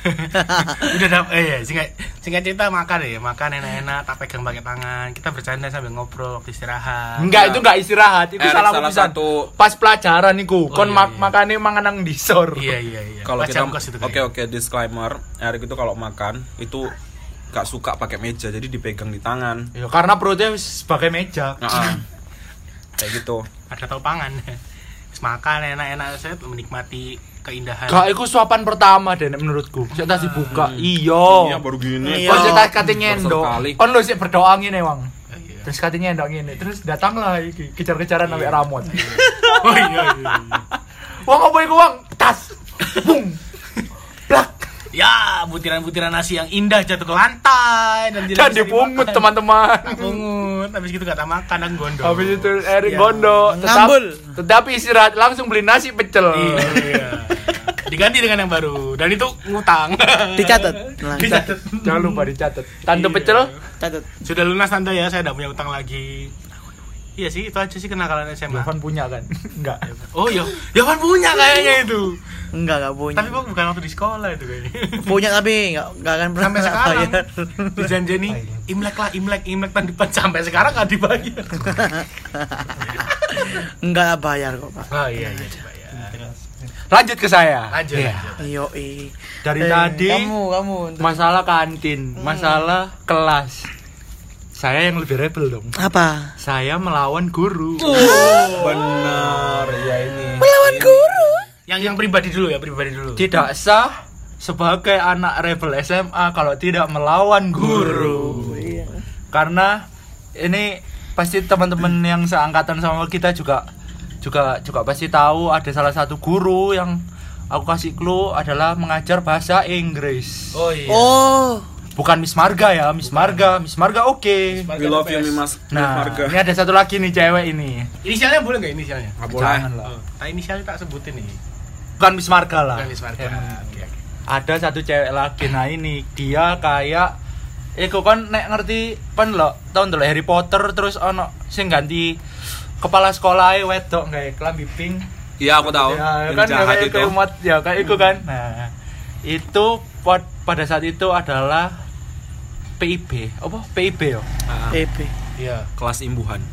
[SPEAKER 3] Udah dap eh iya, singkat singkat cerita makan ya, makan enak-enak, tak pegang pakai tangan. Kita bercanda sambil ngobrol waktu istirahat.
[SPEAKER 1] Enggak, itu enggak istirahat, itu
[SPEAKER 4] Erik
[SPEAKER 1] salah,
[SPEAKER 4] salah
[SPEAKER 1] pisan.
[SPEAKER 4] satu.
[SPEAKER 1] Pas pelajaran iku, kon
[SPEAKER 3] iya,
[SPEAKER 1] mak
[SPEAKER 3] iya.
[SPEAKER 1] makane mangan nang disor.
[SPEAKER 3] Iya iya iya.
[SPEAKER 4] kalau
[SPEAKER 3] Pas
[SPEAKER 4] kita
[SPEAKER 3] jam kos itu
[SPEAKER 1] kan
[SPEAKER 4] oke
[SPEAKER 1] ya?
[SPEAKER 4] oke disclaimer Erik itu kalau makan itu gak suka pakai meja jadi dipegang di tangan
[SPEAKER 1] Ya, karena perutnya wis sebagai meja.
[SPEAKER 4] Nah, kayak gitu
[SPEAKER 3] Ada topangan. Terus makan enak-enak saya tuh menikmati keindahan.
[SPEAKER 1] Gak, iku suapan pertama deh nek menurutku. Sik tas
[SPEAKER 3] Ah.
[SPEAKER 1] dibuka.
[SPEAKER 3] Hmm.
[SPEAKER 1] Iya.
[SPEAKER 4] iya baru gini
[SPEAKER 2] Iya.
[SPEAKER 1] Kon sik tas kate nyendok.
[SPEAKER 4] Bersekali.
[SPEAKER 1] Kon lu sik berdoa ngene, Wang.
[SPEAKER 3] Oh, iya.
[SPEAKER 1] Terus kate nyendok ngene. Terus datanglah iki kejar-kejaran sampai Ramon.
[SPEAKER 3] Oh iya iya. iya.
[SPEAKER 1] Wang apa iku, Wang? Tas. Bung. Plak.
[SPEAKER 3] Ya, butiran-butiran nasi yang indah jatuh ke lantai dan tidak
[SPEAKER 1] Dan
[SPEAKER 3] bisa
[SPEAKER 1] dipungut
[SPEAKER 3] dimakan.
[SPEAKER 1] teman-teman.
[SPEAKER 3] Pungut. Habis itu gak tak makan dan gondol.
[SPEAKER 1] Habis itu Erik
[SPEAKER 3] Iya.
[SPEAKER 1] Gondo tetap,
[SPEAKER 2] Ngambul.
[SPEAKER 1] tetapi istirahat langsung beli nasi pecel.
[SPEAKER 3] Iya, iya. Diganti dengan yang baru dan itu ngutang.
[SPEAKER 2] Dicatat. Nah,
[SPEAKER 3] Dicatat.
[SPEAKER 1] Jangan lupa dicatat. Tante
[SPEAKER 3] Iya.
[SPEAKER 1] pecel
[SPEAKER 2] Catat.
[SPEAKER 3] Sudah lunas tante ya, saya tidak punya utang lagi. Iya sih, itu aja sih kenakalan SMA.
[SPEAKER 1] Jovan punya kan? Enggak.
[SPEAKER 3] Oh iya, ya kan punya kayaknya itu.
[SPEAKER 2] Enggak, enggak punya.
[SPEAKER 3] Tapi gua bukan waktu di sekolah itu kayaknya.
[SPEAKER 2] punya tapi enggak enggak akan pernah
[SPEAKER 3] Sampai sekarang
[SPEAKER 1] Iya.
[SPEAKER 2] bayar.
[SPEAKER 3] dijanjeni Imlek lah, Imlek, Imlek tahun depan sampai sekarang nggak dibayar.
[SPEAKER 2] Enggak bayar kok, Pak.
[SPEAKER 3] Oh iya iya dibayar.
[SPEAKER 1] Lanjut ke saya.
[SPEAKER 3] Lanjut
[SPEAKER 1] Iya.
[SPEAKER 3] lanjut.
[SPEAKER 2] Yo, i.
[SPEAKER 1] Dari tadi-
[SPEAKER 2] Eh, kamu kamu untuk-
[SPEAKER 1] Masalah kantin, masalah kelas. Saya yang lebih rebel dong.
[SPEAKER 2] apa?
[SPEAKER 1] Saya melawan guru.
[SPEAKER 4] benar ya ini
[SPEAKER 2] Melawan guru.
[SPEAKER 3] Yang yang pribadi dulu ya, pribadi dulu.
[SPEAKER 1] Tidak sah sebagai anak rebel SMA kalau tidak melawan guru. iya. Karena ini pasti teman-teman yang seangkatan sama kita juga juga juga pasti tahu ada salah satu guru yang aku kasih clue adalah mengajar bahasa Inggris.
[SPEAKER 3] Oh iya.
[SPEAKER 2] Oh,
[SPEAKER 1] Bukan Miss Marga ya, Miss Marga. Miss Marga oke.
[SPEAKER 4] we love you mas
[SPEAKER 1] Nah,
[SPEAKER 4] marga
[SPEAKER 1] ini ada satu lagi nih cewek ini.
[SPEAKER 3] Inisialnya boleh nggak inisialnya?
[SPEAKER 4] nggak boleh
[SPEAKER 1] Jangan lah.
[SPEAKER 3] Oh, tak inisialnya tak sebutin nih.
[SPEAKER 1] Ah, Bukan Miss Marga lah.
[SPEAKER 3] Kan Ismarga.
[SPEAKER 1] Ya.
[SPEAKER 3] Oke, oke.
[SPEAKER 1] Ada satu cewek lagi. Nah, ini dia kayak Iku kan nek ngerti pan lo tahun dulu Harry Potter terus ono sing ganti kepala sekolah wedok nggak kelambi pink
[SPEAKER 4] Iya aku tahu.
[SPEAKER 1] ya,
[SPEAKER 4] yang
[SPEAKER 1] kan
[SPEAKER 4] jahat
[SPEAKER 1] kayak
[SPEAKER 4] itu.
[SPEAKER 1] kayak umat ya kayak itu kan nah itu pod- pada saat itu adalah PIB apa PIB ya
[SPEAKER 4] Ah,
[SPEAKER 2] EP
[SPEAKER 3] Iya.
[SPEAKER 4] kelas imbuhan.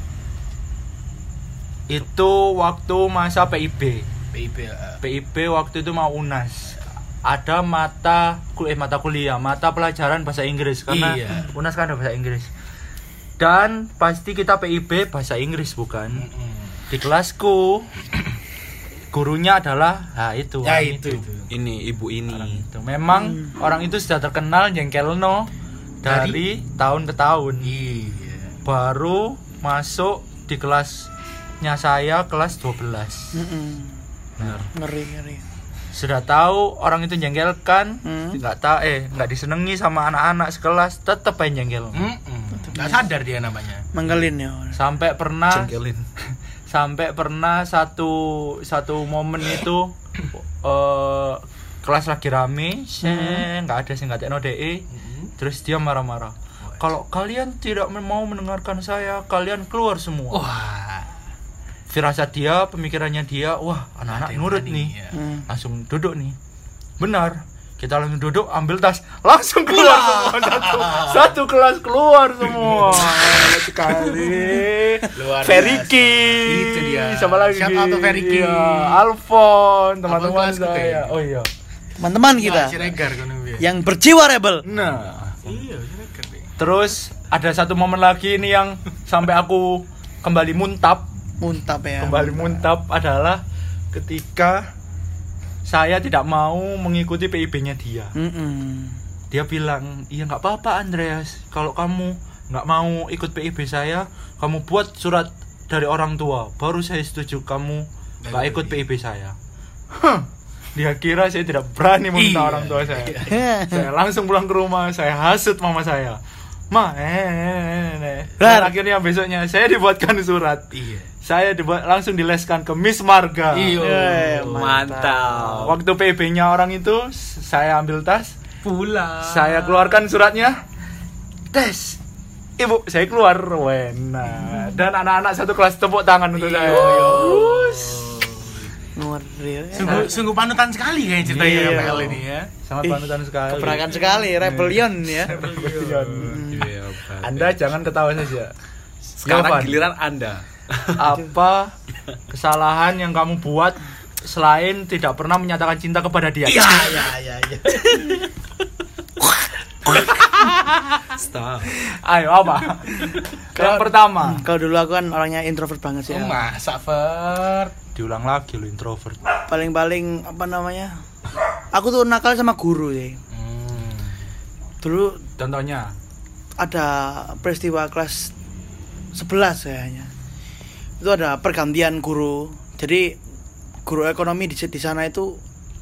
[SPEAKER 1] itu waktu masa PIB
[SPEAKER 3] PIB. eh,
[SPEAKER 1] PIB waktu itu mau UNAS ada mata kul- eh mata kuliah mata pelajaran bahasa Inggris karena
[SPEAKER 3] Iya.
[SPEAKER 1] UNAS kan ada bahasa Inggris dan pasti kita PIB bahasa Inggris bukan
[SPEAKER 3] mm-mm.
[SPEAKER 1] di kelasku gurunya adalah nah itu
[SPEAKER 3] Ya
[SPEAKER 1] orang
[SPEAKER 3] itu. itu.
[SPEAKER 4] Ini ibu
[SPEAKER 1] Orang
[SPEAKER 4] ini.
[SPEAKER 1] itu memang orang itu sudah terkenal jengkelno dari, tahun ke tahun
[SPEAKER 3] Iya.
[SPEAKER 1] baru masuk di kelasnya saya kelas 12
[SPEAKER 2] Mm-mm.
[SPEAKER 4] Benar.
[SPEAKER 2] ngeri ngeri
[SPEAKER 1] sudah tahu orang itu jengkelkan
[SPEAKER 2] Hmm.
[SPEAKER 1] nggak tahu eh nggak disenangi sama anak-anak sekelas tetep aja jengkel
[SPEAKER 3] Mm-mm. Nggak sadar dia namanya.
[SPEAKER 2] menggelin ya orang.
[SPEAKER 1] sampai pernah
[SPEAKER 4] Jengkelin.
[SPEAKER 1] sampai pernah satu satu momen itu eh kelas lagi rame seng, nggak ada sing nggak tekno DE
[SPEAKER 3] Hmm.
[SPEAKER 1] terus dia marah-marah kalau kalian tidak men- mau mendengarkan saya kalian keluar
[SPEAKER 3] Oh.
[SPEAKER 1] semua
[SPEAKER 3] Wah.
[SPEAKER 1] firasat dia pemikirannya dia wah anak-anak
[SPEAKER 3] ada yang
[SPEAKER 1] nurut
[SPEAKER 3] berani,
[SPEAKER 1] nih
[SPEAKER 3] ya.
[SPEAKER 2] Hmm.
[SPEAKER 1] langsung duduk nih benar kita langsung duduk ambil tas langsung keluar semua satu, satu kelas keluar semua Hebat sekali
[SPEAKER 3] Luar biasa.
[SPEAKER 1] Feriki
[SPEAKER 3] Itu dia.
[SPEAKER 1] sama lagi
[SPEAKER 3] Shout out to Feriki.
[SPEAKER 1] Iya, Alfon teman-teman
[SPEAKER 3] Alfon kelasku
[SPEAKER 1] saya
[SPEAKER 3] kayaknya.
[SPEAKER 1] oh iya Ya.
[SPEAKER 2] teman-teman kita
[SPEAKER 3] Wah, Siregar kan namanya.
[SPEAKER 2] yang berjiwa rebel
[SPEAKER 1] nah
[SPEAKER 3] Iya, Siregar deh.
[SPEAKER 1] terus ada satu momen lagi ini yang sampai aku kembali muntap
[SPEAKER 2] muntap ya
[SPEAKER 1] kembali muntap adalah ketika saya tidak mau mengikuti PIB-nya dia
[SPEAKER 2] Mm-mm.
[SPEAKER 1] dia bilang iya nggak apa-apa Andreas kalau kamu nggak mau ikut PIB saya kamu buat surat dari orang tua baru saya setuju kamu nggak ikut PIB saya Hah, dia kira saya tidak berani meminta
[SPEAKER 3] Iya.
[SPEAKER 1] orang tua saya saya langsung pulang ke rumah saya hasut mama saya ma eh, eh, eh, eh, eh." Dan
[SPEAKER 2] Rar.
[SPEAKER 1] akhirnya besoknya saya dibuatkan surat
[SPEAKER 3] Iya.
[SPEAKER 1] saya dibuat langsung dileskan ke Miss Marga
[SPEAKER 3] Iya.
[SPEAKER 2] Eh,
[SPEAKER 1] Nah,
[SPEAKER 4] Mantap.
[SPEAKER 1] waktu PIB-nya orang itu s- saya ambil tas
[SPEAKER 3] Pulang.
[SPEAKER 1] saya keluarkan suratnya tes ibu saya keluar wena dan anak-anak satu kelas tepuk tangan untuk
[SPEAKER 3] Iya.
[SPEAKER 1] saya Ya Wuss.
[SPEAKER 2] ngeri
[SPEAKER 3] Sungguh, sungguh panutan sekali kayaknya ceritanya
[SPEAKER 1] Iya.
[SPEAKER 3] ML ini ya.
[SPEAKER 1] sangat
[SPEAKER 2] Ih,
[SPEAKER 1] panutan sekali
[SPEAKER 2] Gebrakan sekali rebellion ya
[SPEAKER 1] Rebellion.
[SPEAKER 4] Iya, Pak.
[SPEAKER 1] anda jangan ketawa saja
[SPEAKER 4] sekarang
[SPEAKER 1] Jawaban.
[SPEAKER 4] giliran Anda.
[SPEAKER 1] apa kesalahan yang kamu buat selain tidak pernah menyatakan cinta kepada dia
[SPEAKER 3] Iya, iya, iya, iya.
[SPEAKER 4] Stop.
[SPEAKER 1] ayo apa yang pertama
[SPEAKER 3] Hmm.
[SPEAKER 2] kalau dulu aku kan orangnya introvert banget sih ya.
[SPEAKER 3] Masa Fer?
[SPEAKER 1] diulang lagi lo introvert
[SPEAKER 2] paling-paling apa namanya aku tuh nakal sama guru sih
[SPEAKER 3] Hmm.
[SPEAKER 2] dulu
[SPEAKER 1] contohnya
[SPEAKER 2] ada peristiwa kelas 11 kayaknya itu ada pergantian guru jadi guru ekonomi di, di sana itu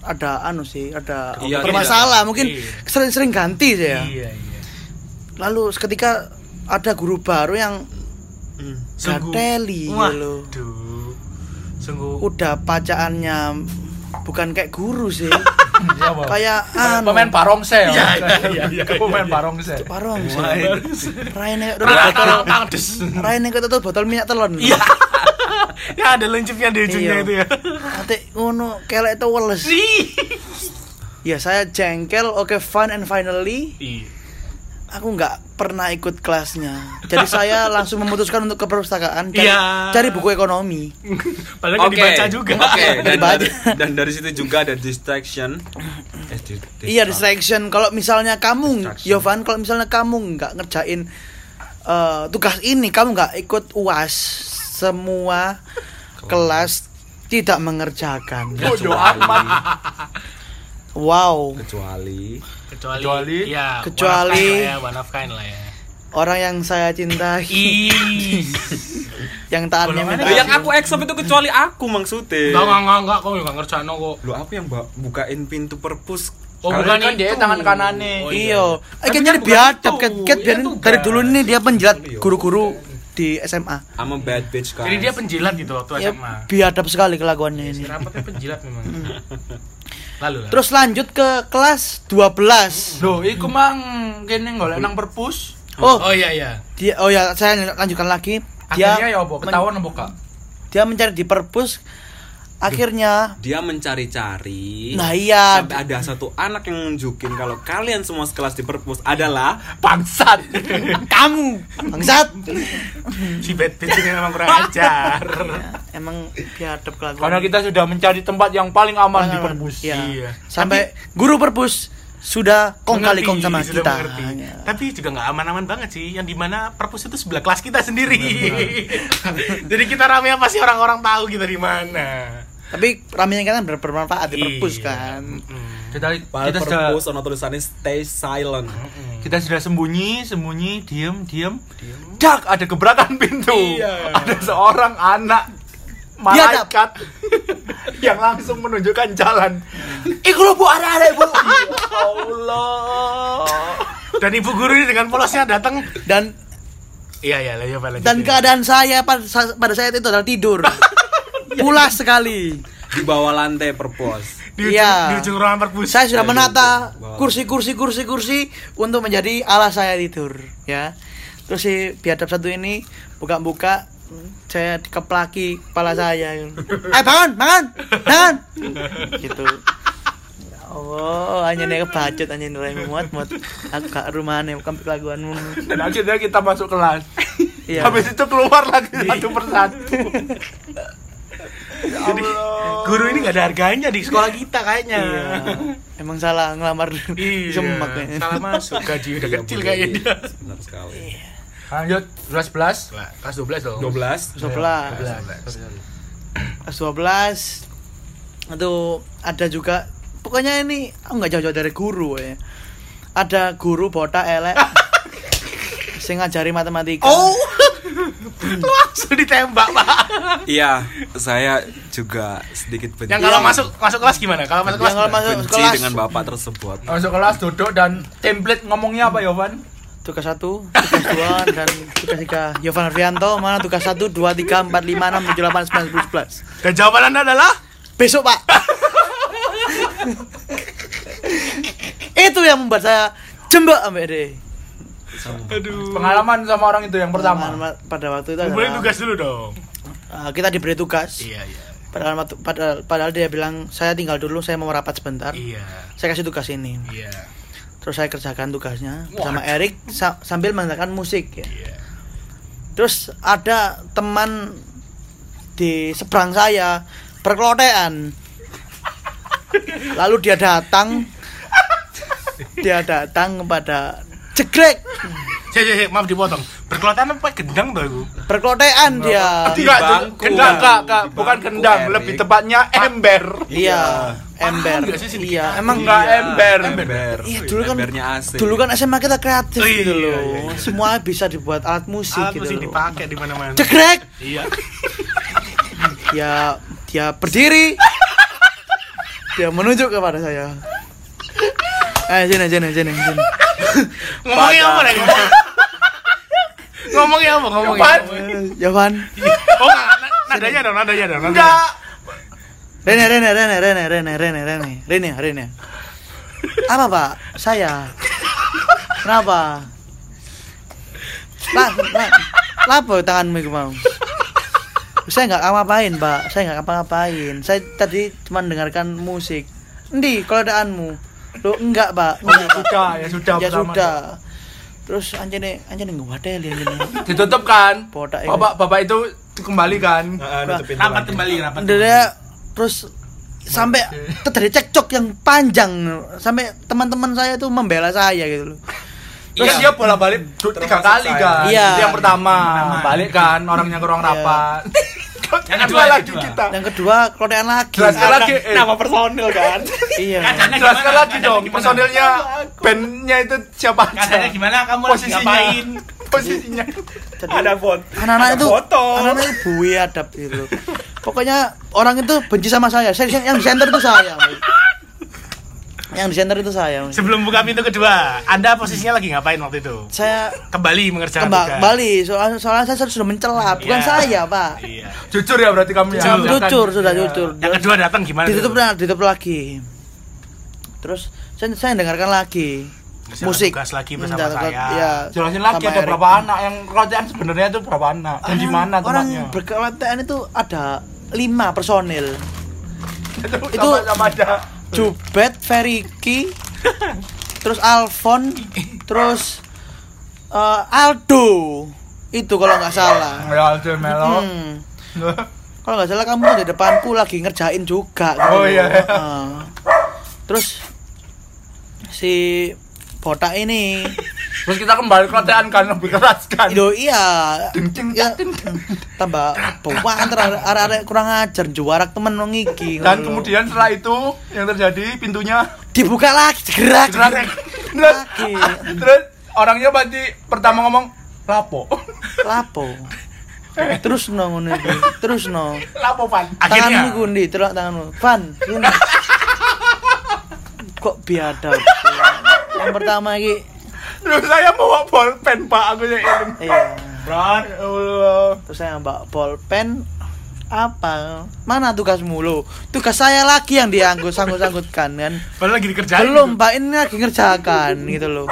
[SPEAKER 2] ada anu sih ada
[SPEAKER 4] Iya,
[SPEAKER 2] bermasalah
[SPEAKER 3] iya.
[SPEAKER 2] mungkin
[SPEAKER 3] Iya.
[SPEAKER 2] sering-sering ganti sih ya
[SPEAKER 3] Iya, iya.
[SPEAKER 2] lalu seketika ada guru baru yang
[SPEAKER 3] Hmm, Sungguh.
[SPEAKER 2] Gateli,
[SPEAKER 3] Wah,
[SPEAKER 2] lo.
[SPEAKER 3] duh. Sungguh.
[SPEAKER 2] udah pacaannya bukan kayak guru sih
[SPEAKER 1] Apa?
[SPEAKER 2] kayak anu
[SPEAKER 1] pemain parongse ya
[SPEAKER 3] iya, iya,
[SPEAKER 1] pemain parongse
[SPEAKER 2] parong sih Raine
[SPEAKER 3] Tang, tang, tang, des.
[SPEAKER 2] Raine kok tetep botol minyak telon
[SPEAKER 3] Iya. Ya ada lencipnya di
[SPEAKER 2] Iya.
[SPEAKER 3] ujungnya itu ya. Iya.
[SPEAKER 2] Ate ngono kelek itu weles. Ya saya jengkel, oke fun and finally
[SPEAKER 3] Iya.
[SPEAKER 2] aku nggak pernah ikut kelasnya. Jadi saya langsung memutuskan untuk ke perpustakaan cari,
[SPEAKER 3] Iya.
[SPEAKER 2] cari buku ekonomi.
[SPEAKER 3] Padahal nggak dibaca juga.
[SPEAKER 4] Oke, dan,
[SPEAKER 2] Dibaca.
[SPEAKER 4] dari, dan dari situ juga ada distraction. Eh, di-
[SPEAKER 2] Iya distraction. Kalau misalnya kamu,
[SPEAKER 4] Distraction.
[SPEAKER 2] Yovan, kalau misalnya kamu nggak ngerjain eh, tugas ini, kamu nggak ikut uas semua kelas tidak mengerjakan.
[SPEAKER 1] bodoh amat
[SPEAKER 2] Wow.
[SPEAKER 4] kecuali
[SPEAKER 3] Kecuali,
[SPEAKER 1] Kecuali-
[SPEAKER 3] ya,
[SPEAKER 2] Kecuali-
[SPEAKER 3] one of kind lah ya. One of kind lah ya.
[SPEAKER 2] Orang yang saya cintai,
[SPEAKER 3] Ih.
[SPEAKER 2] yang taatnya minta
[SPEAKER 3] Golongannya
[SPEAKER 4] Loh, yang
[SPEAKER 2] ampun.
[SPEAKER 4] aku accept itu kecuali aku maksudnya
[SPEAKER 3] Enggak, enggak, enggak, enggak, kok enggak ngerjain kok.
[SPEAKER 4] lu apa yang mbak bukain pintu perpus
[SPEAKER 3] Oh,
[SPEAKER 1] Kalian
[SPEAKER 3] bukan
[SPEAKER 1] kan dia
[SPEAKER 3] itu.
[SPEAKER 1] tangan kanannya.
[SPEAKER 3] Oh,
[SPEAKER 2] Iyo, eh
[SPEAKER 3] Tapi
[SPEAKER 2] kan
[SPEAKER 3] kan
[SPEAKER 2] jadi
[SPEAKER 3] bukan
[SPEAKER 2] biadab
[SPEAKER 3] itu.
[SPEAKER 2] Kat. Kat,
[SPEAKER 3] Iya,
[SPEAKER 2] biarin
[SPEAKER 3] tugas.
[SPEAKER 2] dari dulu nih dia penjilat guru-guru di SMA.
[SPEAKER 4] I'm a bad bitch guys
[SPEAKER 3] Jadi dia penjilat gitu waktu
[SPEAKER 2] Ya,
[SPEAKER 3] SMA. Iya,
[SPEAKER 2] biadab sekali kelakuannya
[SPEAKER 3] Si
[SPEAKER 2] ini.
[SPEAKER 3] rambutnya penjilat memang. Lalu lah.
[SPEAKER 2] Terus lanjut ke kelas 12.
[SPEAKER 1] Duh, iku mang kene golek nang perpus.
[SPEAKER 2] Oh,
[SPEAKER 3] oh iya iya.
[SPEAKER 2] dia oh ya saya lanjutkan lagi. Dia
[SPEAKER 1] Akhirnya ya apa? Ketahuan apa kak?
[SPEAKER 2] dia mencari di perpus akhirnya
[SPEAKER 4] Dia mencari-cari.
[SPEAKER 2] Nah, iya.
[SPEAKER 4] Sampai ada satu anak yang nunjukin kalau kalian semua sekelas di perpus adalah
[SPEAKER 1] Bangsat.
[SPEAKER 2] kamu bangsat
[SPEAKER 3] Si bad bitch ini memang kurang ajar.
[SPEAKER 2] emang biadab kelakuan
[SPEAKER 1] Karena kita sudah mencari tempat yang paling aman
[SPEAKER 2] Paling
[SPEAKER 1] di
[SPEAKER 2] aman.
[SPEAKER 1] perpus.
[SPEAKER 2] Iya.
[SPEAKER 3] Iya.
[SPEAKER 2] sampai guru perpus sudah kong kali kong
[SPEAKER 3] Mengerti,
[SPEAKER 2] sama
[SPEAKER 3] sudah
[SPEAKER 2] kita
[SPEAKER 3] mengerti.
[SPEAKER 2] Hanya.
[SPEAKER 3] Tapi juga nggak aman-aman banget sih, yang dimana perpus itu sebelah kelas kita sendiri. Jadi kita rame apa sih orang-orang tahu kita di mana.
[SPEAKER 2] tapi ramenya kan ber- bermanfaat di perpus
[SPEAKER 3] Iya.
[SPEAKER 2] kan
[SPEAKER 3] Mm-mm.
[SPEAKER 1] Kita
[SPEAKER 4] Pal
[SPEAKER 1] kita sudah
[SPEAKER 4] perpus ono tulisannya stay silent.
[SPEAKER 1] kita sudah sembunyi, sembunyi, diem, diem. Dak, ada gebrakan pintu.
[SPEAKER 3] Iya.
[SPEAKER 1] Ada seorang anak malaikat yang langsung menunjukkan jalan. Iku lho Bu, ada ada Bu. Ya Allah.
[SPEAKER 3] Dan ibu guru ini dengan polosnya datang.
[SPEAKER 2] dan
[SPEAKER 3] Iya iya, lanjut Pak, lanjut.
[SPEAKER 2] dan
[SPEAKER 3] Ya.
[SPEAKER 2] keadaan saya pada, sa- pada saat itu adalah tidur pulas sekali
[SPEAKER 4] Di bawah lantai perpus.
[SPEAKER 3] di ujung,
[SPEAKER 2] Iya.
[SPEAKER 3] di ujung ruangan perpus.
[SPEAKER 2] saya sudah
[SPEAKER 4] Aduh,
[SPEAKER 2] menata
[SPEAKER 4] aduh.
[SPEAKER 2] kursi kursi kursi kursi untuk menjadi alas saya tidur ya terus si biadab satu ini buka buka saya dikeplaki kepala saya eh bangun bangun bangun gitu Ya Allah, hanya nih kebacut, hanya nilai muat muat. Aku gak rumah nih, bukan kelaguanmu.
[SPEAKER 1] Dan akhirnya kita masuk kelas.
[SPEAKER 2] Iya.
[SPEAKER 1] Habis itu keluar lagi satu persatu.
[SPEAKER 3] Jadi guru ini nggak ada harganya di sekolah kita kayaknya.
[SPEAKER 2] Iya. Emang salah ngelamar
[SPEAKER 3] Iya.
[SPEAKER 2] semak ya. kayaknya.
[SPEAKER 3] Salah masuk gaji udah
[SPEAKER 4] Iya,
[SPEAKER 3] kecil
[SPEAKER 4] Bu,
[SPEAKER 3] kayaknya
[SPEAKER 4] iya.
[SPEAKER 3] dia.
[SPEAKER 4] Benar sekali.
[SPEAKER 2] Iya.
[SPEAKER 1] Lanjut 11 11.
[SPEAKER 3] Wah, Kelas 12 dong.
[SPEAKER 4] 12
[SPEAKER 2] Sebelah.
[SPEAKER 1] 11.
[SPEAKER 2] kelas 12 itu ada juga pokoknya ini aku nggak jauh-jauh dari guru ya ada guru botak elek sing ngajari matematika
[SPEAKER 3] Oh. Langsung ditembak, Pak.
[SPEAKER 4] Iya, saya juga sedikit benci.
[SPEAKER 3] Yang kalau masuk masuk kelas gimana? Kalau masuk kelas
[SPEAKER 2] Yang kalau
[SPEAKER 3] gimana?
[SPEAKER 2] masuk
[SPEAKER 4] benci
[SPEAKER 2] kelas
[SPEAKER 4] dengan bapak tersebut.
[SPEAKER 1] Masuk kelas duduk dan template ngomongnya apa Yovan?
[SPEAKER 2] tugas satu tugas dua dan tugas tiga Yovan Ardianto mana tugas satu dua tiga empat lima enam tujuh delapan sembilan sepuluh sebelas
[SPEAKER 3] Dan jawaban Anda adalah
[SPEAKER 2] besok pak itu yang membuat saya jembak ambek deh
[SPEAKER 1] Hmm.
[SPEAKER 3] aduh.
[SPEAKER 1] Pengalaman sama orang itu yang pertama.
[SPEAKER 2] Pengalaman pada waktu itu
[SPEAKER 3] Kumpulin
[SPEAKER 2] adalah,
[SPEAKER 3] tugas dulu dong.
[SPEAKER 2] eh, kita diberi tugas
[SPEAKER 3] Iya, iya.
[SPEAKER 2] Padahal, waktu- padahal, padahal dia bilang saya tinggal dulu, saya mau rapat sebentar.
[SPEAKER 3] Iya.
[SPEAKER 2] Saya kasih tugas ini.
[SPEAKER 3] Iya.
[SPEAKER 2] Terus saya kerjakan tugasnya bersama Erik sa- sambil mendengarkan musik ya.
[SPEAKER 3] Iya.
[SPEAKER 2] Terus ada teman di seberang saya perkelotean. Lalu dia datang dia datang kepada jegrek
[SPEAKER 3] Cek, cek, cek, maaf dipotong. Berkelotan apa gendang tuh aku?
[SPEAKER 2] perkelotean dia.
[SPEAKER 4] Di
[SPEAKER 1] Enggak,
[SPEAKER 4] bangku,
[SPEAKER 1] gendang
[SPEAKER 4] Bang.
[SPEAKER 1] kak, kak.
[SPEAKER 4] Di
[SPEAKER 1] bukan
[SPEAKER 4] bangku,
[SPEAKER 1] gendang,
[SPEAKER 4] Erik.
[SPEAKER 1] lebih tepatnya ember.
[SPEAKER 2] Iya, ember.
[SPEAKER 3] nggak sih sini?
[SPEAKER 2] Iya, emang
[SPEAKER 1] Emang enggak ember.
[SPEAKER 4] Ember.
[SPEAKER 2] Iya dulu kan
[SPEAKER 4] Embernya AC.
[SPEAKER 2] dulu kan SMA kita kreatif
[SPEAKER 3] Oh, iya,
[SPEAKER 2] gitu loh.
[SPEAKER 3] iya, iya.
[SPEAKER 2] Semua bisa dibuat alat musik
[SPEAKER 3] Alat
[SPEAKER 2] gitu
[SPEAKER 3] mesti
[SPEAKER 2] loh.
[SPEAKER 3] dipakai di mana-mana.
[SPEAKER 2] Cekrek.
[SPEAKER 3] Iya.
[SPEAKER 2] Dia dia berdiri. dia menunjuk kepada saya. Eh sini sini sini sini.
[SPEAKER 3] Ngomongnya apa lagi? Ngomongnya apa? Ngomongnya.
[SPEAKER 1] Apaan?
[SPEAKER 2] Eh, Jawaban.
[SPEAKER 3] Oh, nggak, na- nadanya dong, nadanya dong. nadanya.
[SPEAKER 1] Enggak.
[SPEAKER 2] Rene Rene Rene Rene Rene Rene Rene Rene Rene. Apa pak? Saya. Kenapa? Lah, lah, lapo tanganmu itu mau? Saya nggak apa-apain pak. Saya nggak apa-apain. Saya tadi cuma dengarkan musik. Endi keadaanmu? Lo enggak pak?
[SPEAKER 1] Oh, ya
[SPEAKER 2] Enggak, Pak.
[SPEAKER 1] sudah, ya sudah.
[SPEAKER 2] Ya
[SPEAKER 1] pertama.
[SPEAKER 2] sudah. Terus anjene anjene nggak wadel ya anjene.
[SPEAKER 1] Ditutup kan?
[SPEAKER 2] Botak ini.
[SPEAKER 1] Bapak bapak itu kembali kan?
[SPEAKER 4] Heeh, nutupin
[SPEAKER 3] Rapat
[SPEAKER 4] lagi.
[SPEAKER 3] kembali, rapat.
[SPEAKER 2] Dada terus sampai terjadi cekcok yang panjang sampai teman-teman saya itu membela saya gitu loh.
[SPEAKER 1] Terus Kan dia bola balik du- tiga
[SPEAKER 4] Termasuk
[SPEAKER 1] kali
[SPEAKER 4] saya.
[SPEAKER 1] kan?
[SPEAKER 2] Iya.
[SPEAKER 1] Itu yang pertama. Balik kan orangnya ke ruang
[SPEAKER 2] Iya.
[SPEAKER 1] rapat. Yang
[SPEAKER 3] Yang kedua,
[SPEAKER 1] kedua
[SPEAKER 3] yang
[SPEAKER 1] lagi
[SPEAKER 3] kedua.
[SPEAKER 1] kita.
[SPEAKER 2] Yang kedua kelotean lagi.
[SPEAKER 1] Jelaskan lagi. eh.
[SPEAKER 4] personil kan?
[SPEAKER 2] Iya.
[SPEAKER 3] Kadang-
[SPEAKER 1] Jelaskan
[SPEAKER 3] Gimana?
[SPEAKER 1] lagi dong.
[SPEAKER 3] Gimana?
[SPEAKER 1] Personilnya bandnya itu siapa
[SPEAKER 3] Katanya
[SPEAKER 1] aja?
[SPEAKER 3] gimana kamu lagi
[SPEAKER 1] Posisinya.
[SPEAKER 3] ngapain?
[SPEAKER 1] Posisinya.
[SPEAKER 2] Jadi
[SPEAKER 4] foto.
[SPEAKER 2] anak-anak itu anak-anak itu buaya adab gitu. loh. Pokoknya orang itu benci sama saya. Saya yang di center itu saya. Yang di center itu saya.
[SPEAKER 3] Sebelum buka pintu kedua, Anda posisinya lagi ngapain waktu itu?
[SPEAKER 2] Saya
[SPEAKER 3] Kembali mengerjakan tugas.
[SPEAKER 2] kembali Bali soalnya soalnya saya sudah mencela bukan
[SPEAKER 3] Ya, Iya.
[SPEAKER 2] saya pak
[SPEAKER 3] Iya.
[SPEAKER 1] Jujur ya berarti kamu ya.
[SPEAKER 3] Jujur.
[SPEAKER 1] Kan?
[SPEAKER 2] jujur sudah
[SPEAKER 1] Iya.
[SPEAKER 2] jujur
[SPEAKER 3] Yang kedua datang gimana?
[SPEAKER 2] ditutup
[SPEAKER 3] tuh?
[SPEAKER 2] nah, ditutup lagi terus saya, saya dengarkan lagi
[SPEAKER 3] Bisa
[SPEAKER 2] musik
[SPEAKER 3] tugas lagi bersama
[SPEAKER 2] Minta tugas,
[SPEAKER 3] saya.
[SPEAKER 2] ya,
[SPEAKER 1] jelasin lagi
[SPEAKER 2] sama
[SPEAKER 1] ada
[SPEAKER 2] Eric.
[SPEAKER 1] berapa anak yang rocean sebenarnya itu berapa anak dan di mana
[SPEAKER 2] orang
[SPEAKER 1] tempatnya
[SPEAKER 2] berkelantean itu ada lima personil
[SPEAKER 1] itu
[SPEAKER 2] itu-
[SPEAKER 1] sama aja
[SPEAKER 2] Jubet, Feriki, terus Alfon, terus eh, Aldo. Itu kalau nggak salah.
[SPEAKER 1] Real Ya, Aldo Melo
[SPEAKER 2] Hmm. Kalau nggak salah kamu di depanku lagi ngerjain juga. gitu.
[SPEAKER 1] Oh, iya.
[SPEAKER 2] Heeh. terus si botak ini,
[SPEAKER 1] terus kita kembali rocean kan lebih keras kan
[SPEAKER 2] Ido iya,
[SPEAKER 1] Ding, ding,
[SPEAKER 2] ya,
[SPEAKER 1] ding, ding.
[SPEAKER 2] tambah bawaan arek-arek kurang ajar juarak temen nong iki.
[SPEAKER 1] dan
[SPEAKER 2] ngono.
[SPEAKER 1] kemudian setelah itu yang terjadi pintunya
[SPEAKER 2] dibuka lagi, gerak.
[SPEAKER 1] gerak terus
[SPEAKER 2] Lagi.
[SPEAKER 1] terus orangnya pasti pertama ngomong lapo
[SPEAKER 2] lapo terus no ngono iki terus no
[SPEAKER 1] lapo pan
[SPEAKER 3] Akhirnya.
[SPEAKER 2] tanganmu gundi terus tanganmu pan ini kok biadab yang pertama iki
[SPEAKER 1] lu saya bawa bolpen pak aku yang ini
[SPEAKER 2] iya
[SPEAKER 1] Bran, ya Allah.
[SPEAKER 2] terus saya mbak bolpen apa mana tugasmu lo tugas saya lagi yang dianggut sanggut sanggutkan kan
[SPEAKER 3] Padahal lagi dikerjain. gitu.
[SPEAKER 2] belum mbak ini lagi ngerjakan gitu loh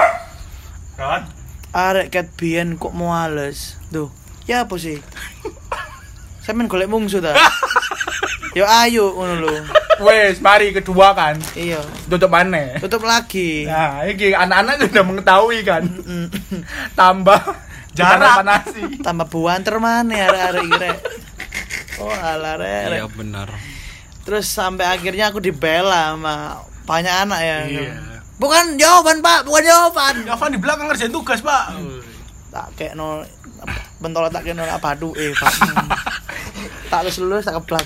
[SPEAKER 3] Kan?
[SPEAKER 2] arek ket biyen kok muales tuh ya apa sih saya main golek mungsu ta yo ayo ngono lho
[SPEAKER 1] Wes, mari kedua kan.
[SPEAKER 2] iya
[SPEAKER 1] Tutup mana?
[SPEAKER 2] tutup lagi
[SPEAKER 1] Nah, ini anak-anak sudah mengetahui kan.
[SPEAKER 2] Mm,
[SPEAKER 1] Tambah
[SPEAKER 3] Jarak.
[SPEAKER 1] panasi.
[SPEAKER 2] tambah buanter mana arek-arek iki rek oh ala rek rek.
[SPEAKER 4] Iya benar.
[SPEAKER 2] Kan terus sampai akhirnya aku dibela sama banyak anak ya
[SPEAKER 3] Iya.
[SPEAKER 2] bukan jawaban pak bukan jawaban
[SPEAKER 3] Gavan di belakang ngerjain tugas, Pak.
[SPEAKER 2] tak kayak no bentolan tak kayak no apa aduh eh pak tak lulus lulus tak keplak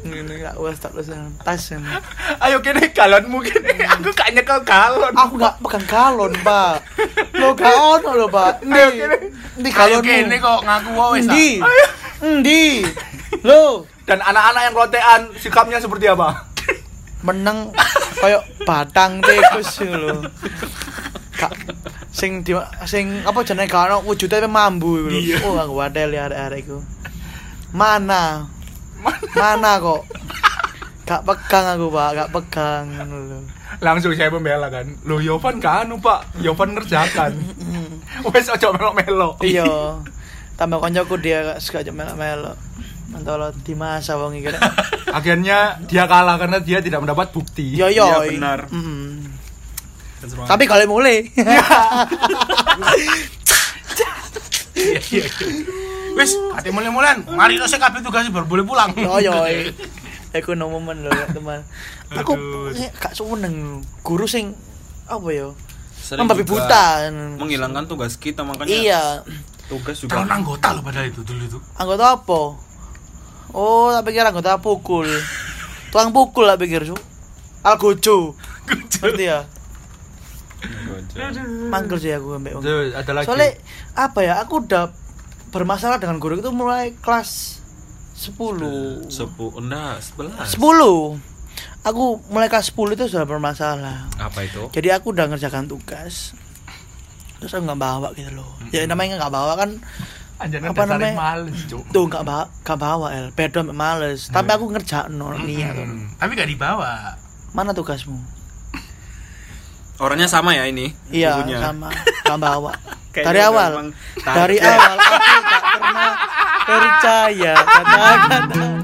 [SPEAKER 2] ini tak lulus tak lulus tas ya, ini.
[SPEAKER 1] Ayo kene galon mungkin aku gak nyekel galon.
[SPEAKER 2] aku nggak pegang galon pak lo gak ono lo pak
[SPEAKER 1] Ayo
[SPEAKER 2] Ndi,
[SPEAKER 1] kene.
[SPEAKER 2] ndi
[SPEAKER 3] Kalau
[SPEAKER 2] galonmu?
[SPEAKER 3] kene kok ngaku wae wes.
[SPEAKER 1] ah.
[SPEAKER 2] ndi ndi lo
[SPEAKER 1] Dan anak-anak yang rotean sikapnya seperti apa?
[SPEAKER 2] meneng koyok batang tikus lo Kak, sing di sing apa jenenge gak ono wujude mambu
[SPEAKER 4] Iya.
[SPEAKER 2] iku lho. Oh, aku wadel ya arek-arek iku. Mana? Mana kok? Gak pegang aku, Pak, gak pegang ngono
[SPEAKER 4] Oh,
[SPEAKER 2] lho.
[SPEAKER 1] Langsung saya membela kan. Lu Yovan gak anu, Pak. Yovan ngerjakan. Wes ojo melo-melo.
[SPEAKER 2] Iya. Tambah koncoku dia suka aja melok-melok. Mentolo di masa wong iki. rek.
[SPEAKER 1] Akhirnya dia kalah karena dia tidak mendapat bukti.
[SPEAKER 2] Yo yo.
[SPEAKER 4] Iya, benar.
[SPEAKER 2] Mm-mm. Tapi kalau mulai.
[SPEAKER 3] Wes, ate mulai-mulan. Mari lo sik kabeh tugas baru boleh pulang.
[SPEAKER 2] Yo yo. Aku no momen lho, rek, teman. Aku eh, gak seneng guru sing apa ya?
[SPEAKER 4] Sering
[SPEAKER 2] Membabi
[SPEAKER 4] juga
[SPEAKER 2] buta.
[SPEAKER 4] Menghilangkan tugas kita makanya.
[SPEAKER 2] Iya.
[SPEAKER 4] Tugas juga.
[SPEAKER 3] Calon anggota lo padahal itu dulu itu.
[SPEAKER 2] Anggota apa? Oh, tak pikir anggota pukul. Tuang pukul lah pikir, Su. Algojo. Ngerti ya? Mangkel sih aku ambek wong.
[SPEAKER 1] Terus ada lagi.
[SPEAKER 2] Soalnya apa ya? Aku udah bermasalah dengan guru itu mulai kelas 10. 10.
[SPEAKER 4] Sepuluh, enggak sebelas.
[SPEAKER 2] Aku mulai kelas 10 itu sudah bermasalah.
[SPEAKER 4] Apa itu?
[SPEAKER 2] jadi aku udah ngerjakan tugas terus aku nggak bawa gitu loh ya namanya nggak bawa kan
[SPEAKER 1] Anjana
[SPEAKER 2] apa
[SPEAKER 1] dasarnya
[SPEAKER 2] namanya?
[SPEAKER 1] males, Cuk.
[SPEAKER 2] tuh nggak bawa nggak bawa el bedo sampe males tapi aku ngerjain no niat tuh.
[SPEAKER 3] Hmm, Tapi gak dibawa.
[SPEAKER 2] mana tugasmu
[SPEAKER 4] Orangnya sama ya ini.
[SPEAKER 2] iya
[SPEAKER 4] bukunya.
[SPEAKER 2] sama nggak bawa
[SPEAKER 4] Kayaknya
[SPEAKER 2] dari
[SPEAKER 4] udah
[SPEAKER 2] awal
[SPEAKER 4] emang ya.
[SPEAKER 2] dari
[SPEAKER 4] target.
[SPEAKER 2] awal aku nggak pernah percaya kata-kata